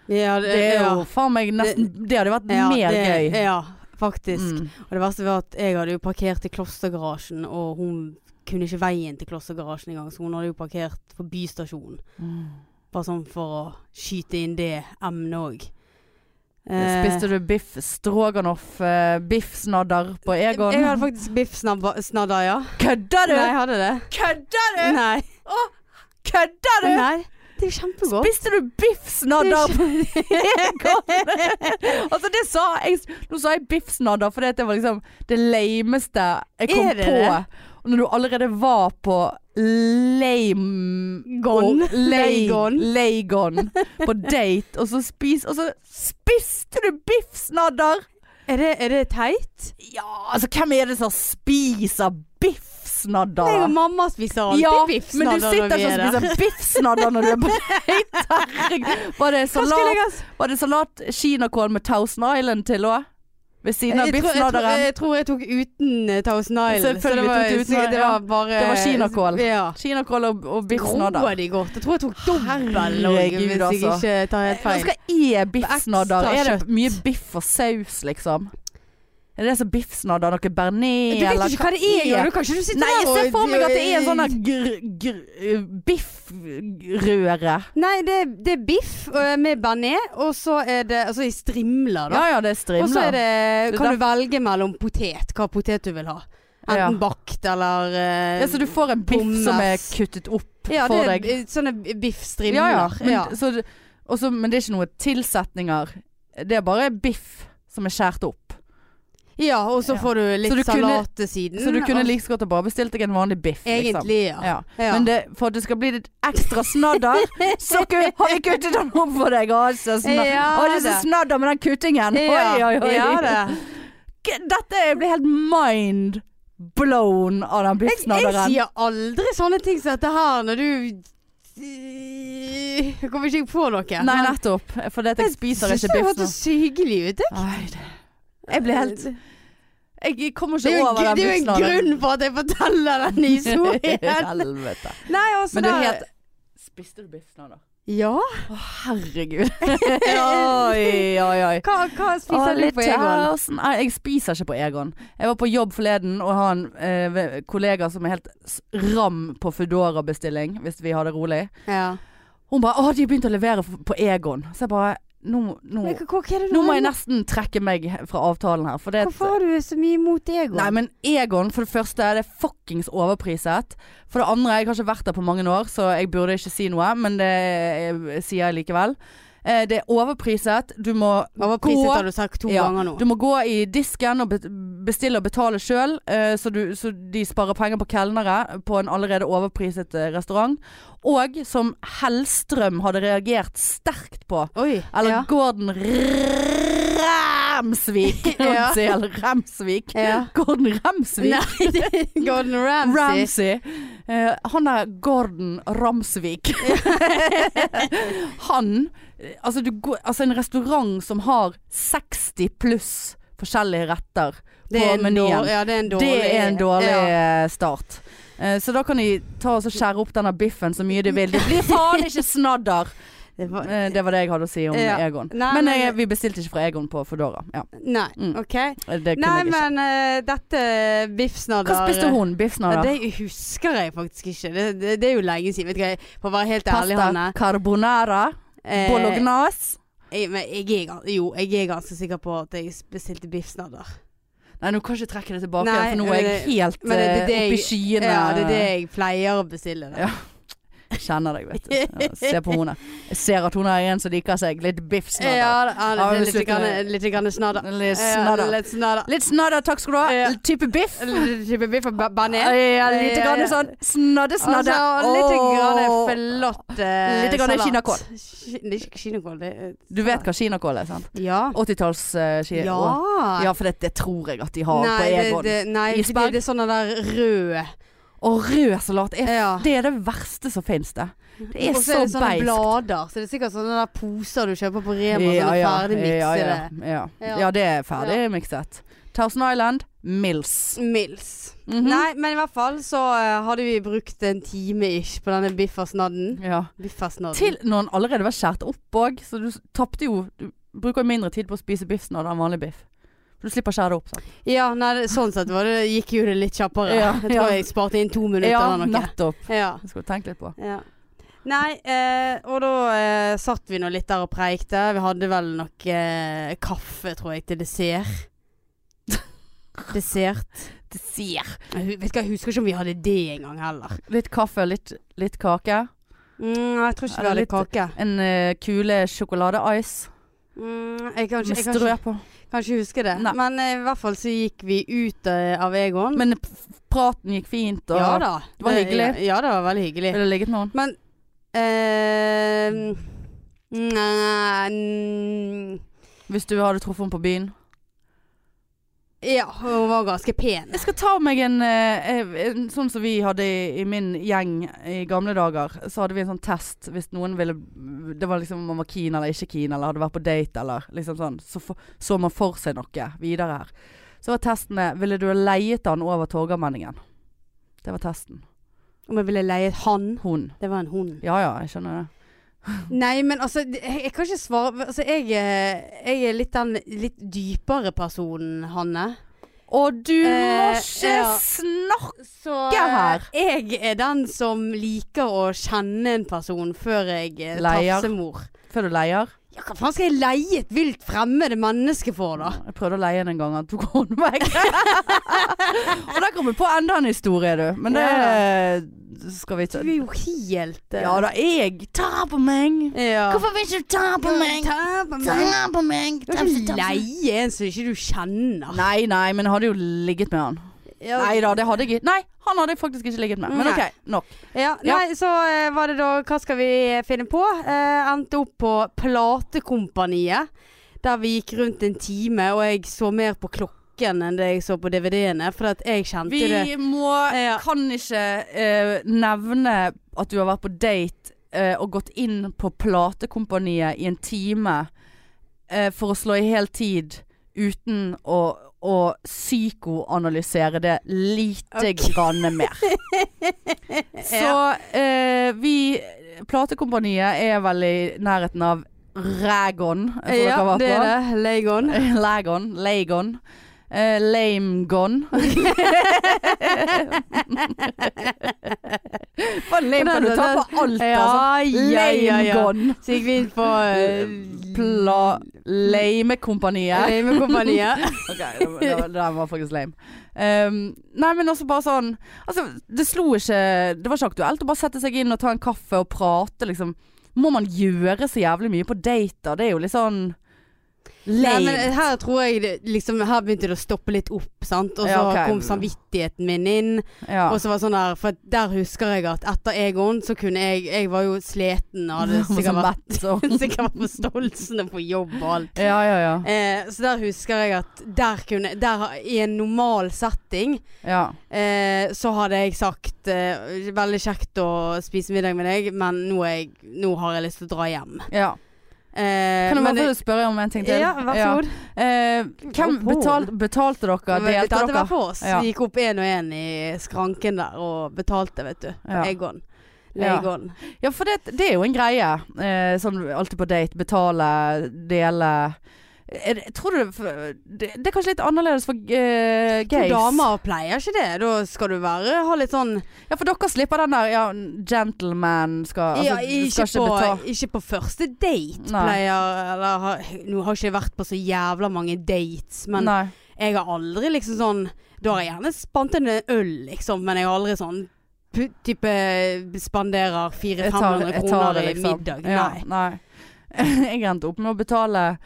Speaker 2: Ja,
Speaker 1: Det er jo faen meg nesten Det hadde vært
Speaker 2: ja,
Speaker 1: mer
Speaker 2: det,
Speaker 1: gøy.
Speaker 2: Ja, faktisk.
Speaker 1: Mm.
Speaker 2: Og det verste var at jeg hadde jo parkert i klostergarasjen, og hun kunne ikke veien til klostergarasjen engang, så hun hadde jo parkert på bystasjonen.
Speaker 1: Mm.
Speaker 2: Bare sånn for å skyte inn det emnet òg. Eh.
Speaker 1: Eh, Spiste du biff stroganoff, eh, biffsnadder på Egon?
Speaker 2: Jeg hadde faktisk biff snabba- snadder, ja.
Speaker 1: Kødder
Speaker 2: Nei,
Speaker 1: du?!
Speaker 2: jeg hadde det.
Speaker 1: Kødder du?!
Speaker 2: Nei.
Speaker 1: Kødder du?!
Speaker 2: Nei. Det er jo kjempegodt.
Speaker 1: Spiste du biff snadder?
Speaker 2: Det er
Speaker 1: (laughs) altså det sa jeg Nå sa jeg biff snadder fordi at det var liksom det lameste jeg kom
Speaker 2: Er det
Speaker 1: på.
Speaker 2: det?
Speaker 1: Og når du allerede var på lame...
Speaker 2: Gone.
Speaker 1: og lay-
Speaker 2: Laygone.
Speaker 1: Laygone.
Speaker 2: (laughs)
Speaker 1: På date, og så spis Og så spiste du biff snadder!
Speaker 2: Er det, er det teit?
Speaker 1: Ja, altså hvem er det som spiser biff snadder?
Speaker 2: Jeg og mamma spiser alltid
Speaker 1: ja,
Speaker 2: biff
Speaker 1: men du
Speaker 2: snadder
Speaker 1: sitter
Speaker 2: når vi
Speaker 1: ikke
Speaker 2: er
Speaker 1: og
Speaker 2: der.
Speaker 1: spiser biff snadder når du
Speaker 2: (laughs)
Speaker 1: er på date. Herregud. Var det
Speaker 2: Hva skulle
Speaker 1: salat?
Speaker 2: jeg ha s-
Speaker 1: Var det salat kinakål med Thousand Island til òg? Ved siden av
Speaker 2: Jeg tror- jeg tror-
Speaker 1: biffsnadderen?
Speaker 2: Jeg tror jeg tok uten eh, Thousand Island.
Speaker 1: Selvfølgelig
Speaker 2: så det var,
Speaker 1: tok du uten,
Speaker 2: så det var
Speaker 1: ja.
Speaker 2: bare
Speaker 1: Det var kinakål.
Speaker 2: Ja.
Speaker 1: Kinakål og, og biffsnadder.
Speaker 2: Roer de godt. Jeg tror jeg tok dobbel òg,
Speaker 1: Herregud,
Speaker 2: hvis jeg
Speaker 1: altså.
Speaker 2: ikke tar helt
Speaker 1: Hva
Speaker 2: feil.
Speaker 1: skal jeg biffsnadder?
Speaker 2: Ekstra
Speaker 1: Er det
Speaker 2: kjøtt.
Speaker 1: mye biff og saus, liksom? Er det som biffsnadder? Noe bearnés?
Speaker 2: Du vet ikke hva det er, Jan. Du kan ikke du sitter
Speaker 1: Nei, jeg
Speaker 2: der
Speaker 1: ser
Speaker 2: og-
Speaker 1: for meg at det er en sånn der gr- gr- biffrøre.
Speaker 2: Nei, det, det er biff øh, med bearnés, og så er det altså i strimler, da.
Speaker 1: Ja ja, det er
Speaker 2: og så er
Speaker 1: strimler.
Speaker 2: det,
Speaker 1: Det
Speaker 2: kan
Speaker 1: der-
Speaker 2: du velge mellom potet, hva potet du vil ha. Enten
Speaker 1: Ja.
Speaker 2: bakt eller øh,
Speaker 1: Ja, så du får en biff
Speaker 2: Pommes.
Speaker 1: som er kuttet opp
Speaker 2: ja,
Speaker 1: for
Speaker 2: det er
Speaker 1: deg.
Speaker 2: b- sånne biffstrimler.
Speaker 1: Ja, ja. Men,
Speaker 2: Ja.
Speaker 1: Så, det- også, men det er ikke noe tilsetninger. Det er bare biff som er skåret opp.
Speaker 2: Ja, og så
Speaker 1: Ja.
Speaker 2: får du litt
Speaker 1: Så du kunne-
Speaker 2: salat til siden.
Speaker 1: Så du kunne
Speaker 2: Mm, og-
Speaker 1: like så godt ha bare bestilt deg en vanlig biff. Liksom.
Speaker 2: Egentlig, ja.
Speaker 1: Ja.
Speaker 2: Ja.
Speaker 1: Men det, for at det skal bli litt ekstra snadder, så
Speaker 2: (laughs)
Speaker 1: ku- har vi kuttet den opp for deg. Å, så snadder.
Speaker 2: Ja,
Speaker 1: Å, det er så
Speaker 2: det.
Speaker 1: snadder med den kuttingen. Oi,
Speaker 2: Ja,
Speaker 1: oi, oi.
Speaker 2: ja
Speaker 1: (laughs)
Speaker 2: det.
Speaker 1: Dette blir helt mind blown av den
Speaker 2: Jeg
Speaker 1: biffsnadderen.
Speaker 2: sier aldri sånne ting som dette her når du Jeg kommer ikke på noe.
Speaker 1: Nei, nettopp. For det at jeg spiser ikke biff
Speaker 2: Jeg synes det
Speaker 1: nå.
Speaker 2: hørtes så hyggelig ut. jeg.
Speaker 1: Nei, det- Jeg blir helt Jeg kommer
Speaker 2: Det er
Speaker 1: ikke
Speaker 2: jo en,
Speaker 1: over
Speaker 2: gr-
Speaker 1: den
Speaker 2: det er jo en
Speaker 1: biffsnadderen.
Speaker 2: grunn for at jeg forteller
Speaker 1: (laughs)
Speaker 2: denne historien.
Speaker 1: Helvete.
Speaker 2: Nei, altså
Speaker 1: Men du
Speaker 2: da-
Speaker 1: het Spiste du biff nå, da?
Speaker 2: Ja?
Speaker 1: Å, herregud. (laughs) oi, oi, oi.
Speaker 2: Hva, hva spiser du på Egon?
Speaker 1: Egon? Nei, jeg spiser ikke på Egon. Jeg var på jobb forleden og har en eh, ve- kollega som er helt s- ram på Foodora-bestilling, hvis vi har det rolig.
Speaker 2: Ja.
Speaker 1: Hun bare 'Å, de begynte å levere f- på Egon'. Så jeg bare Nå, nå,
Speaker 2: Men hva, hva er det du
Speaker 1: nå må
Speaker 2: har
Speaker 1: jeg
Speaker 2: imot-
Speaker 1: nesten trekke meg fra avtalen her. For det at-
Speaker 2: Hvorfor har du så mye imot Egon?
Speaker 1: Nei, men Egon, for det første, det er fuckings overpriset. For det andre, jeg har ikke vært der på mange år, så jeg burde ikke si noe, men det eh, sier jeg likevel. Eh, Det er overpriset. Du må
Speaker 2: Overpriset
Speaker 1: gå
Speaker 2: har du sagt to
Speaker 1: Ja.
Speaker 2: ganger nå.
Speaker 1: du må gå i disken og bet- bestille og betale sjøl, så, du- så de sparer penger på kelnere på en allerede overpriset eh, restaurant. Og som Hellstrøm hadde reagert sterkt på.
Speaker 2: Oi.
Speaker 1: Eller
Speaker 2: ja.
Speaker 1: Gordon Ramsvik.
Speaker 2: (laughs)
Speaker 1: holdt jeg
Speaker 2: Ja.
Speaker 1: på å si, Eller Ramsvik.
Speaker 2: ja.
Speaker 1: Gordon Ramsvik.
Speaker 2: Nei, det
Speaker 1: (laughs)
Speaker 2: er Gordon Ramsay.
Speaker 1: Ramsay. Eh, han er Gordon Ramsvik. (laughs) han eh, altså, du, går- altså en restaurant som har 60 pluss forskjellige retter
Speaker 2: Det er
Speaker 1: på
Speaker 2: en
Speaker 1: menyen.
Speaker 2: dårlig- Ja, det er en dårlig,
Speaker 1: Det er en dårlig
Speaker 2: ja.
Speaker 1: eh, start. Eh, Så da kan de ta og så skjære opp denne biffen så mye de vil. Det blir faen ikke
Speaker 2: (laughs)
Speaker 1: snadder!
Speaker 2: Det var-
Speaker 1: Eh, Det var det jeg hadde å si om
Speaker 2: Ja.
Speaker 1: Egon.
Speaker 2: Nei,
Speaker 1: men
Speaker 2: men-
Speaker 1: eh, vi bestilte ikke fra Egon på Foodora. Ja,
Speaker 2: Nei,
Speaker 1: Mm.
Speaker 2: ok.
Speaker 1: det kunne
Speaker 2: Nei,
Speaker 1: jeg ikke.
Speaker 2: men eh, dette biffsnadder
Speaker 1: Hva spiste hun?
Speaker 2: Ja,
Speaker 1: Biffsnadder?
Speaker 2: det husker jeg faktisk ikke. Det, det, det er jo lenge siden. Vet du hva, jeg- for å være helt ærlig, Hanne
Speaker 1: Pasta carbonara?
Speaker 2: eh,
Speaker 1: Bolognas?
Speaker 2: jeg, men jeg er, gans- jo, jeg er ganske sikker på at jeg bestilte biffsnadder.
Speaker 1: Nei, nå kan jeg ikke trekke det tilbake,
Speaker 2: Nei,
Speaker 1: for nå er jeg
Speaker 2: men det-
Speaker 1: helt
Speaker 2: men det- det- det
Speaker 1: eh, oppe i
Speaker 2: jeg-
Speaker 1: skyene.
Speaker 2: Ja, det er det jeg pleier å bestille. Da.
Speaker 1: Ja. Jeg Kjenner deg,
Speaker 2: (laughs)
Speaker 1: vet du. Ja, se på henne. Jeg ser at hun er en som liker seg. Litt biff snadder.
Speaker 2: Ja, da- ja,
Speaker 1: Ja,
Speaker 2: det er
Speaker 1: vi
Speaker 2: litt,
Speaker 1: slutter
Speaker 2: grann,
Speaker 1: med-
Speaker 2: litt grann snadder.
Speaker 1: Litt
Speaker 2: Ja,
Speaker 1: snadder.
Speaker 2: litt snadder.
Speaker 1: Litt snadder, takk skal du ha.
Speaker 2: Ja.
Speaker 1: Litt type biff.
Speaker 2: Litt type biff og ba- banan. Eh,
Speaker 1: Ja, litt
Speaker 2: Ja,
Speaker 1: grann
Speaker 2: ja.
Speaker 1: sånn snadde, snadde.
Speaker 2: Altså, litt
Speaker 1: Åh.
Speaker 2: grann flott eh,
Speaker 1: Litt grann
Speaker 2: salat.
Speaker 1: kinakål.
Speaker 2: Ki- Det er ikke kinakål, det er
Speaker 1: Du vet hva kinakål er, sant?
Speaker 2: Ja.
Speaker 1: 80-talls uh, kinakål.
Speaker 2: Ja.
Speaker 1: Ja, for det, det tror jeg at de har
Speaker 2: nei,
Speaker 1: på
Speaker 2: det,
Speaker 1: Egon.
Speaker 2: det, nei
Speaker 1: I
Speaker 2: fordi
Speaker 1: Spang.
Speaker 2: det er sånn den der røde
Speaker 1: Og rød salat er
Speaker 2: Ja.
Speaker 1: Det er det verste som finnes det. Det er sånn
Speaker 2: Og så er
Speaker 1: så
Speaker 2: det sånne
Speaker 1: beiskt.
Speaker 2: blader. Så det er sikkert sånne der poser du kjøper på Rema.
Speaker 1: Ja,
Speaker 2: sånne
Speaker 1: ja,
Speaker 2: ferdig
Speaker 1: ja,
Speaker 2: miksede.
Speaker 1: ja, ja.
Speaker 2: Ja.
Speaker 1: ja, det er ferdig mikset. Thousand Island, Mills.
Speaker 2: Mills.
Speaker 1: Mhm.
Speaker 2: Nei, men i hvert fall så eh, hadde vi brukt en time ish på denne biffersnadden.
Speaker 1: Ja.
Speaker 2: Biffersnadden.
Speaker 1: Til når den allerede var skåret opp òg, så du s- tapte jo Du bruker jo mindre tid på å spise biff snadder enn vanlig biff. For du slipper å skjære det opp, sant.
Speaker 2: Ja, nei, det- sånn sett var det, gikk jo det litt kjappere.
Speaker 1: Ja,
Speaker 2: jeg tror
Speaker 1: ja.
Speaker 2: jeg sparte inn to minutter
Speaker 1: Ja,
Speaker 2: eller noe.
Speaker 1: nettopp.
Speaker 2: Ja,
Speaker 1: Det skal du tenke litt på.
Speaker 2: ja. Nei, eh, og da eh, satt vi nå litt der og preikte. Vi hadde vel nok eh, kaffe, tror jeg,
Speaker 1: (laughs)
Speaker 2: til dessert. Dessert. Jeg hu- Vet ikke, jeg husker ikke om vi hadde det engang heller.
Speaker 1: Litt kaffe, litt, litt kake.
Speaker 2: Mm, jeg tror ikke vi
Speaker 1: Eller
Speaker 2: hadde
Speaker 1: litt-
Speaker 2: kake.
Speaker 1: En eh, kule sjokolade-ice
Speaker 2: Mm, jeg kan
Speaker 1: med
Speaker 2: ikke, jeg kan ikke,
Speaker 1: strø på.
Speaker 2: kan ikke huske det.
Speaker 1: Nei.
Speaker 2: Men eh, i hvert fall så gikk vi ut eh, av Egon.
Speaker 1: Men p- praten gikk fint, og
Speaker 2: ja da.
Speaker 1: det var hyggelig.
Speaker 2: Ja, ja, det var veldig hyggelig.
Speaker 1: ville det ligget med henne.
Speaker 2: Men eh, nei, mm,
Speaker 1: Hvis du hadde truffet henne på byen.
Speaker 2: Ja, hun var ganske pen.
Speaker 1: Jeg skal ta meg en, eh, en Sånn som vi hadde i, i min gjeng i gamle dager, så hadde vi en sånn test hvis noen ville Det var liksom om man var keen eller ikke keen, eller hadde vært på date, eller liksom sånn. Så for, så man for seg noe videre her. Så var testene Ville du ha leiet han over Torgallmenningen? Det var testen.
Speaker 2: Om jeg ville leie han.
Speaker 1: Hun.
Speaker 2: Det var en hund.
Speaker 1: Ja ja, jeg skjønner det.
Speaker 2: Nei, men altså, det- jeg, jeg kan ikke svare altså, jeg, eh, jeg er litt den litt dypere personen, Hanne.
Speaker 1: Og du
Speaker 2: Eh,
Speaker 1: må ikke
Speaker 2: ja.
Speaker 1: snakke!
Speaker 2: Så
Speaker 1: Ja, her.
Speaker 2: eh, jeg er den som liker å kjenne en person før jeg eh,
Speaker 1: Leier.
Speaker 2: tafser mor.
Speaker 1: Før du leier.
Speaker 2: Ja, hva faen skal jeg leie et vilt fremmede menneske for, da?
Speaker 1: Jeg prøvde å leie den en gang, han tok hånden vekk. (laughs) og der kom vi på enda en historie, du. Men det skal vi
Speaker 2: Du
Speaker 1: ikke
Speaker 2: er jo helt eh,
Speaker 1: Ja da, jeg Ta på meg!
Speaker 2: ja.
Speaker 3: Hvorfor vil ikke du ta på meg?
Speaker 2: Ta på
Speaker 3: Ta
Speaker 2: meg.
Speaker 3: på meg.
Speaker 2: Du kan ikke leie en som ikke du kjenner.
Speaker 1: Nei, nei, men jeg hadde jo ligget med han.
Speaker 2: Ja,
Speaker 1: Nei da, det hadde jeg ikke. Nei, han hadde jeg faktisk ikke ligget
Speaker 3: Mm,
Speaker 1: med. Men OK,
Speaker 2: Nei.
Speaker 1: nok.
Speaker 2: Ja,
Speaker 1: Ja.
Speaker 2: nei, så eh, var det da Hva skal vi finne på? Eh, endte opp på Platekompaniet. Der vi gikk rundt en time, og jeg så mer på klokken enn det jeg så på DVD-ene. For at jeg kjente
Speaker 1: Vi
Speaker 2: det.
Speaker 1: må
Speaker 2: Ja.
Speaker 1: Kan ikke eh, nevne at du har vært på date eh, og gått inn på platekompaniet i en time eh, for å slå i hel tid uten å, å psykoanalysere det lite
Speaker 2: Ok.
Speaker 1: grann
Speaker 2: (laughs)
Speaker 1: mer. Så eh, vi Platekompaniet er vel i nærheten av Ragon. jeg tror dere
Speaker 2: Ja,
Speaker 1: har vært
Speaker 2: det
Speaker 1: på.
Speaker 2: er det.
Speaker 1: (laughs)
Speaker 2: Legon.
Speaker 1: Lagon, Lagon eh, (laughs) Lamegon Faen, lame kan du ta på alt altså
Speaker 2: Ja, ja, ja, ja.
Speaker 1: Lamegon
Speaker 2: Så gikk vi inn på uh,
Speaker 1: Eh, Pla Lamekompaniet
Speaker 2: Lemekompaniet.
Speaker 1: (laughs) Ok, det var- det var- den var faktisk lame um, Nei, men også bare sånn Altså, det slo ikke Det var ikke aktuelt å bare sette seg inn og ta en kaffe og prate liksom Må man gjøre så jævlig mye på dater? Det er jo litt sånn
Speaker 2: Nei,
Speaker 1: Lame
Speaker 2: men her tror jeg det, liksom, Her begynte det å stoppe litt opp, sant. Og så
Speaker 1: Ja, ok.
Speaker 2: kom samvittigheten min inn.
Speaker 1: ja.
Speaker 2: Og så var det sånn der, for der husker jeg at etter Egon så kunne jeg Jeg var jo sleten og hadde
Speaker 1: (laughs) Som
Speaker 2: sikkert vært,
Speaker 1: mett, så.
Speaker 2: (laughs) sikkert vært på Stolsen og på jobb og alt.
Speaker 1: Ja, ja, ja.
Speaker 2: Eh, så der husker jeg at der kunne der, har- I en normal setting
Speaker 1: ja.
Speaker 2: eh, så hadde jeg sagt eh, Veldig kjekt å spise middag med deg, men nå, er jeg, nå har jeg lyst til å dra hjem.
Speaker 1: ja.
Speaker 2: Eh,
Speaker 1: Kan jeg
Speaker 2: men
Speaker 1: bare få spørre om en ting til?
Speaker 2: Ja, vær så god.
Speaker 1: Eh, hvem
Speaker 2: Gå på.
Speaker 1: betalte, betalte dere?
Speaker 2: Vi
Speaker 1: Delte
Speaker 2: betalte
Speaker 1: dere?
Speaker 2: hver for oss.
Speaker 1: Ja.
Speaker 2: Vi gikk opp én og én i skranken der og betalte, vet du.
Speaker 1: Ja.
Speaker 2: På Egon.
Speaker 1: Ja.
Speaker 2: Legon.
Speaker 1: Ja, for det, det er jo en greie. Eh, sånn alltid på date. Betale, dele. Er det- Tror du det, det Det er kanskje litt annerledes for eh,
Speaker 2: To
Speaker 1: gays?
Speaker 2: damer pleier ikke det. Da skal du være, ha litt sånn
Speaker 1: Ja, for dere slipper den der ja, gentleman skal, altså,
Speaker 2: ja,
Speaker 1: du
Speaker 2: ikke,
Speaker 1: skal ikke
Speaker 2: på,
Speaker 1: betale.
Speaker 2: ikke på første date
Speaker 1: Nei.
Speaker 2: pleier eller, har- Nå har ikke jeg vært på så jævla mange dates, men
Speaker 1: Nei.
Speaker 2: jeg har aldri liksom sånn Da har jeg gjerne spant en øl, liksom, men jeg har aldri sånn pu- type spanderer
Speaker 1: Jeg tar-
Speaker 2: 400-500
Speaker 1: jeg tar
Speaker 2: kroner
Speaker 1: det, liksom.
Speaker 2: i middag.
Speaker 1: Ja,
Speaker 2: Nei.
Speaker 1: nei. (laughs) Jeg endte opp med å betale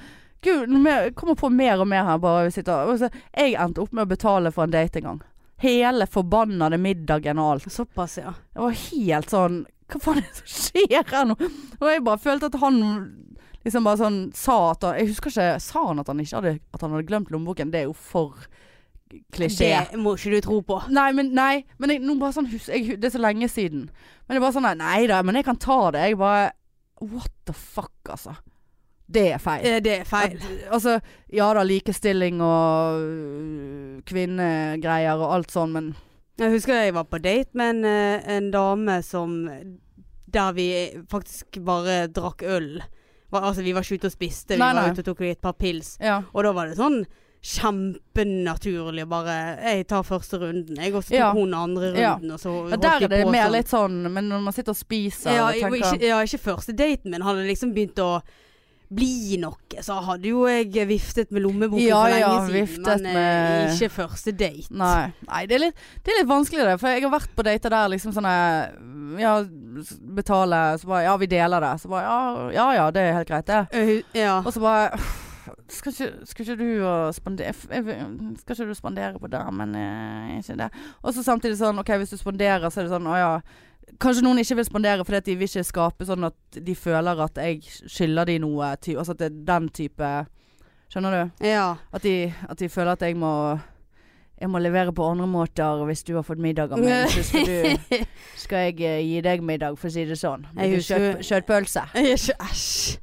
Speaker 1: Gud, nå mer- jeg kommer på mer og mer her bare vi sitter og så- Jeg endte opp med å betale for en date en gang. Hele forbannede middagen og alt.
Speaker 2: Såpass, ja.
Speaker 1: Jeg var helt sånn Hva faen er det som skjer her nå? Og jeg bare følte at han liksom bare sånn sa at han Jeg husker ikke Sa han at han ikke hadde, at han hadde glemt lommeboken? Det er jo for klisjé.
Speaker 2: Det må ikke du tro på.
Speaker 1: Nei, men, nei, men jeg, nå bare sånn, hus, jeg, hu- det er så lenge siden. Men det er bare sånn, nei, nei da, men jeg kan ta det. Jeg bare, what the fuck, altså. Det er feil.
Speaker 2: Eh, Det er feil.
Speaker 1: At- Altså, ja da, likestilling og øh, kvinnegreier og alt sånn, men
Speaker 2: Jeg husker jeg var på date med en, eh, en dame som Der vi faktisk bare drakk øl. Var, altså, vi var ikke ute og spiste, vi
Speaker 1: Nei,
Speaker 2: var
Speaker 1: nei.
Speaker 2: ute og tok et par pils.
Speaker 1: ja.
Speaker 2: Og da var det sånn kjempenaturlig å bare Jeg tar første runden, jeg. Og så tok
Speaker 1: Ja.
Speaker 2: hun andre
Speaker 1: Ja.
Speaker 2: runden, og så
Speaker 1: ja
Speaker 2: holdt
Speaker 1: der
Speaker 2: vi
Speaker 1: er det
Speaker 2: på
Speaker 1: mer
Speaker 2: sånn.
Speaker 1: litt sånn, men når man sitter og spiser
Speaker 2: ja,
Speaker 1: og
Speaker 2: jo,
Speaker 1: tenker
Speaker 2: ikke, ja, ikke første daten min. Hadde liksom begynt å bli noe, så hadde jo jeg viftet med lommeboken
Speaker 1: Ja,
Speaker 2: for lenge
Speaker 1: ja,
Speaker 2: siden.
Speaker 1: viftet
Speaker 2: men eh,
Speaker 1: med-
Speaker 2: ikke første date.
Speaker 1: Nei, Nei det, er litt, det er litt vanskelig det. For jeg har vært på dater der liksom sånne Ja, s- betale Så bare Ja, vi deler det. Så bare Ja ja, ja det er helt greit, det.
Speaker 2: Eh, ja.
Speaker 1: Og så bare «Åh, skal ikke, skal ikke du og spandere Skal ikke du spandere på damen? eh, Ikke det. Og så samtidig sånn OK, hvis du spanderer, så er det sånn Å ja. Kanskje noen ikke vil spandere fordi at de vil ikke skape sånn at de føler at jeg skylder de noe. Ty altså at det er den type Skjønner du?
Speaker 2: ja.
Speaker 1: At de, at de føler at jeg må jeg må levere på andre måter hvis du har fått middag av meg. Så skal, du,
Speaker 2: (laughs)
Speaker 1: skal jeg eh, gi deg middag, for å si det sånn.
Speaker 2: Jeg
Speaker 1: Blir det kjøtt-
Speaker 2: husker-
Speaker 1: Kjøttpølse.
Speaker 2: Jeg er ikke Æsj.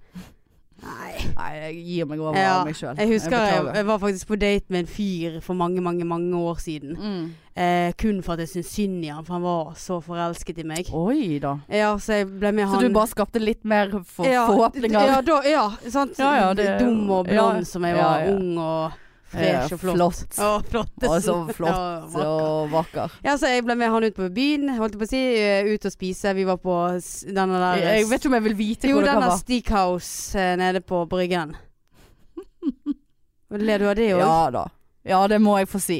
Speaker 2: Nei.
Speaker 1: Nei, jeg gir meg over
Speaker 2: Ja,
Speaker 1: meg sjøl.
Speaker 2: Jeg husker jeg,
Speaker 1: beklager.
Speaker 2: jeg var faktisk på date med en fyr for mange, mange mange år siden.
Speaker 1: mm.
Speaker 2: Eh, kun for at jeg syntes synd i han, for han var så forelsket i meg.
Speaker 1: Oi da.
Speaker 2: Ja, så jeg ble med
Speaker 1: Så
Speaker 2: han
Speaker 1: du bare skapte litt mer for,
Speaker 2: ja,
Speaker 1: forhåpninger?
Speaker 2: Ja, da, ja sant.
Speaker 1: Ja, ja, det-
Speaker 2: Dum og blond
Speaker 1: ja,
Speaker 2: som jeg
Speaker 1: ja,
Speaker 2: var.
Speaker 1: ja.
Speaker 2: Ung og fresh og flott.
Speaker 1: Eh, Flott.
Speaker 2: Å, flottesen.
Speaker 1: Og så flott
Speaker 2: Ja, vakker.
Speaker 1: og vakker.
Speaker 2: Ja, så jeg ble med han ut på byen, holdt jeg på å si. eh, Ut og spise. Vi var på s- denne der
Speaker 1: Jeg, jeg vet ikke om jeg vil vite
Speaker 2: Jo,
Speaker 1: hvor det kan
Speaker 2: denne
Speaker 1: være.
Speaker 2: Steakhouse eh, nede på (laughs) Bryggen. Ler du av det òg?
Speaker 1: Ja da. Ja, det må jeg få si.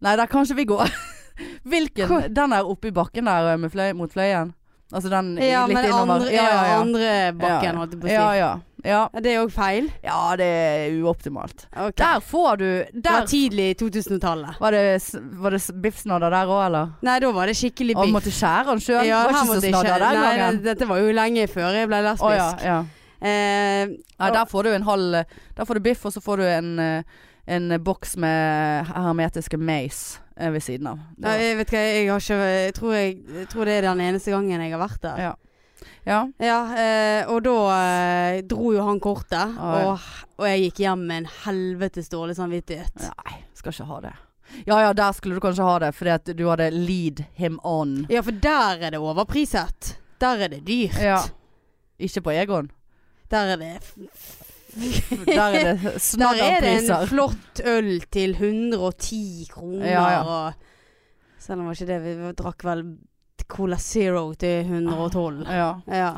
Speaker 1: Nei, der kan ikke vi gå. (laughs) Hvilken?
Speaker 2: Hvor?
Speaker 1: Den er oppi bakken der eh, med fløy, mot fløyen. Altså den i-
Speaker 2: Ja,
Speaker 1: litt
Speaker 2: men
Speaker 1: innover.
Speaker 2: andre,
Speaker 1: ja, ja, ja.
Speaker 2: andre bakken,
Speaker 1: Ja.
Speaker 2: holdt jeg på å si.
Speaker 1: ja, ja. ja.
Speaker 2: Er Det er òg feil.
Speaker 1: Ja, det er uoptimalt.
Speaker 2: Ok.
Speaker 1: Der får du
Speaker 2: Det var
Speaker 1: Der
Speaker 2: tidlig i 2000-tallet.
Speaker 1: var det, s- var det s- biffsnadder der òg, eller?
Speaker 2: Nei, da var det skikkelig
Speaker 1: Og
Speaker 2: biff.
Speaker 1: måtte skjære den sjøl?
Speaker 2: Ja,
Speaker 1: var
Speaker 2: her
Speaker 1: ikke så
Speaker 2: måtte jeg
Speaker 1: snadder
Speaker 2: ikke-
Speaker 1: den
Speaker 2: Nei,
Speaker 1: gangen.
Speaker 2: det- dette var jo lenge før jeg ble lesbisk.
Speaker 1: Å ja, ja.
Speaker 2: eh,
Speaker 1: Nei, der får du en halv Der får du biff, og så får du en, eh, en boks med hermetiske mais eh, ved siden av. Det
Speaker 2: nei,
Speaker 1: var-
Speaker 2: jeg vet ikke, jeg har ikke jeg tror, jeg, jeg tror det er den eneste gangen jeg har vært der.
Speaker 1: Ja. Ja.
Speaker 2: Ja, eh, og da eh, dro jo han kortet,
Speaker 1: Oi.
Speaker 2: og, og jeg gikk hjem med en helvetes dårlig samvittighet.
Speaker 1: Nei, skal ikke ha det. Ja ja, der skulle du kanskje ha det, fordi at du hadde lead him on.
Speaker 2: Ja, for der er det overpriset. Der er det dyrt.
Speaker 1: Ja. Ikke på Egon.
Speaker 2: Der er det
Speaker 1: Der er det
Speaker 2: (laughs) Der er det
Speaker 1: snadderpriser.
Speaker 2: en flott øl til 110 kroner.
Speaker 1: Ja, ja.
Speaker 2: Og, selv om det var ikke det, vi drakk vel Cola Zero til 112.
Speaker 1: Ja.
Speaker 2: Ja.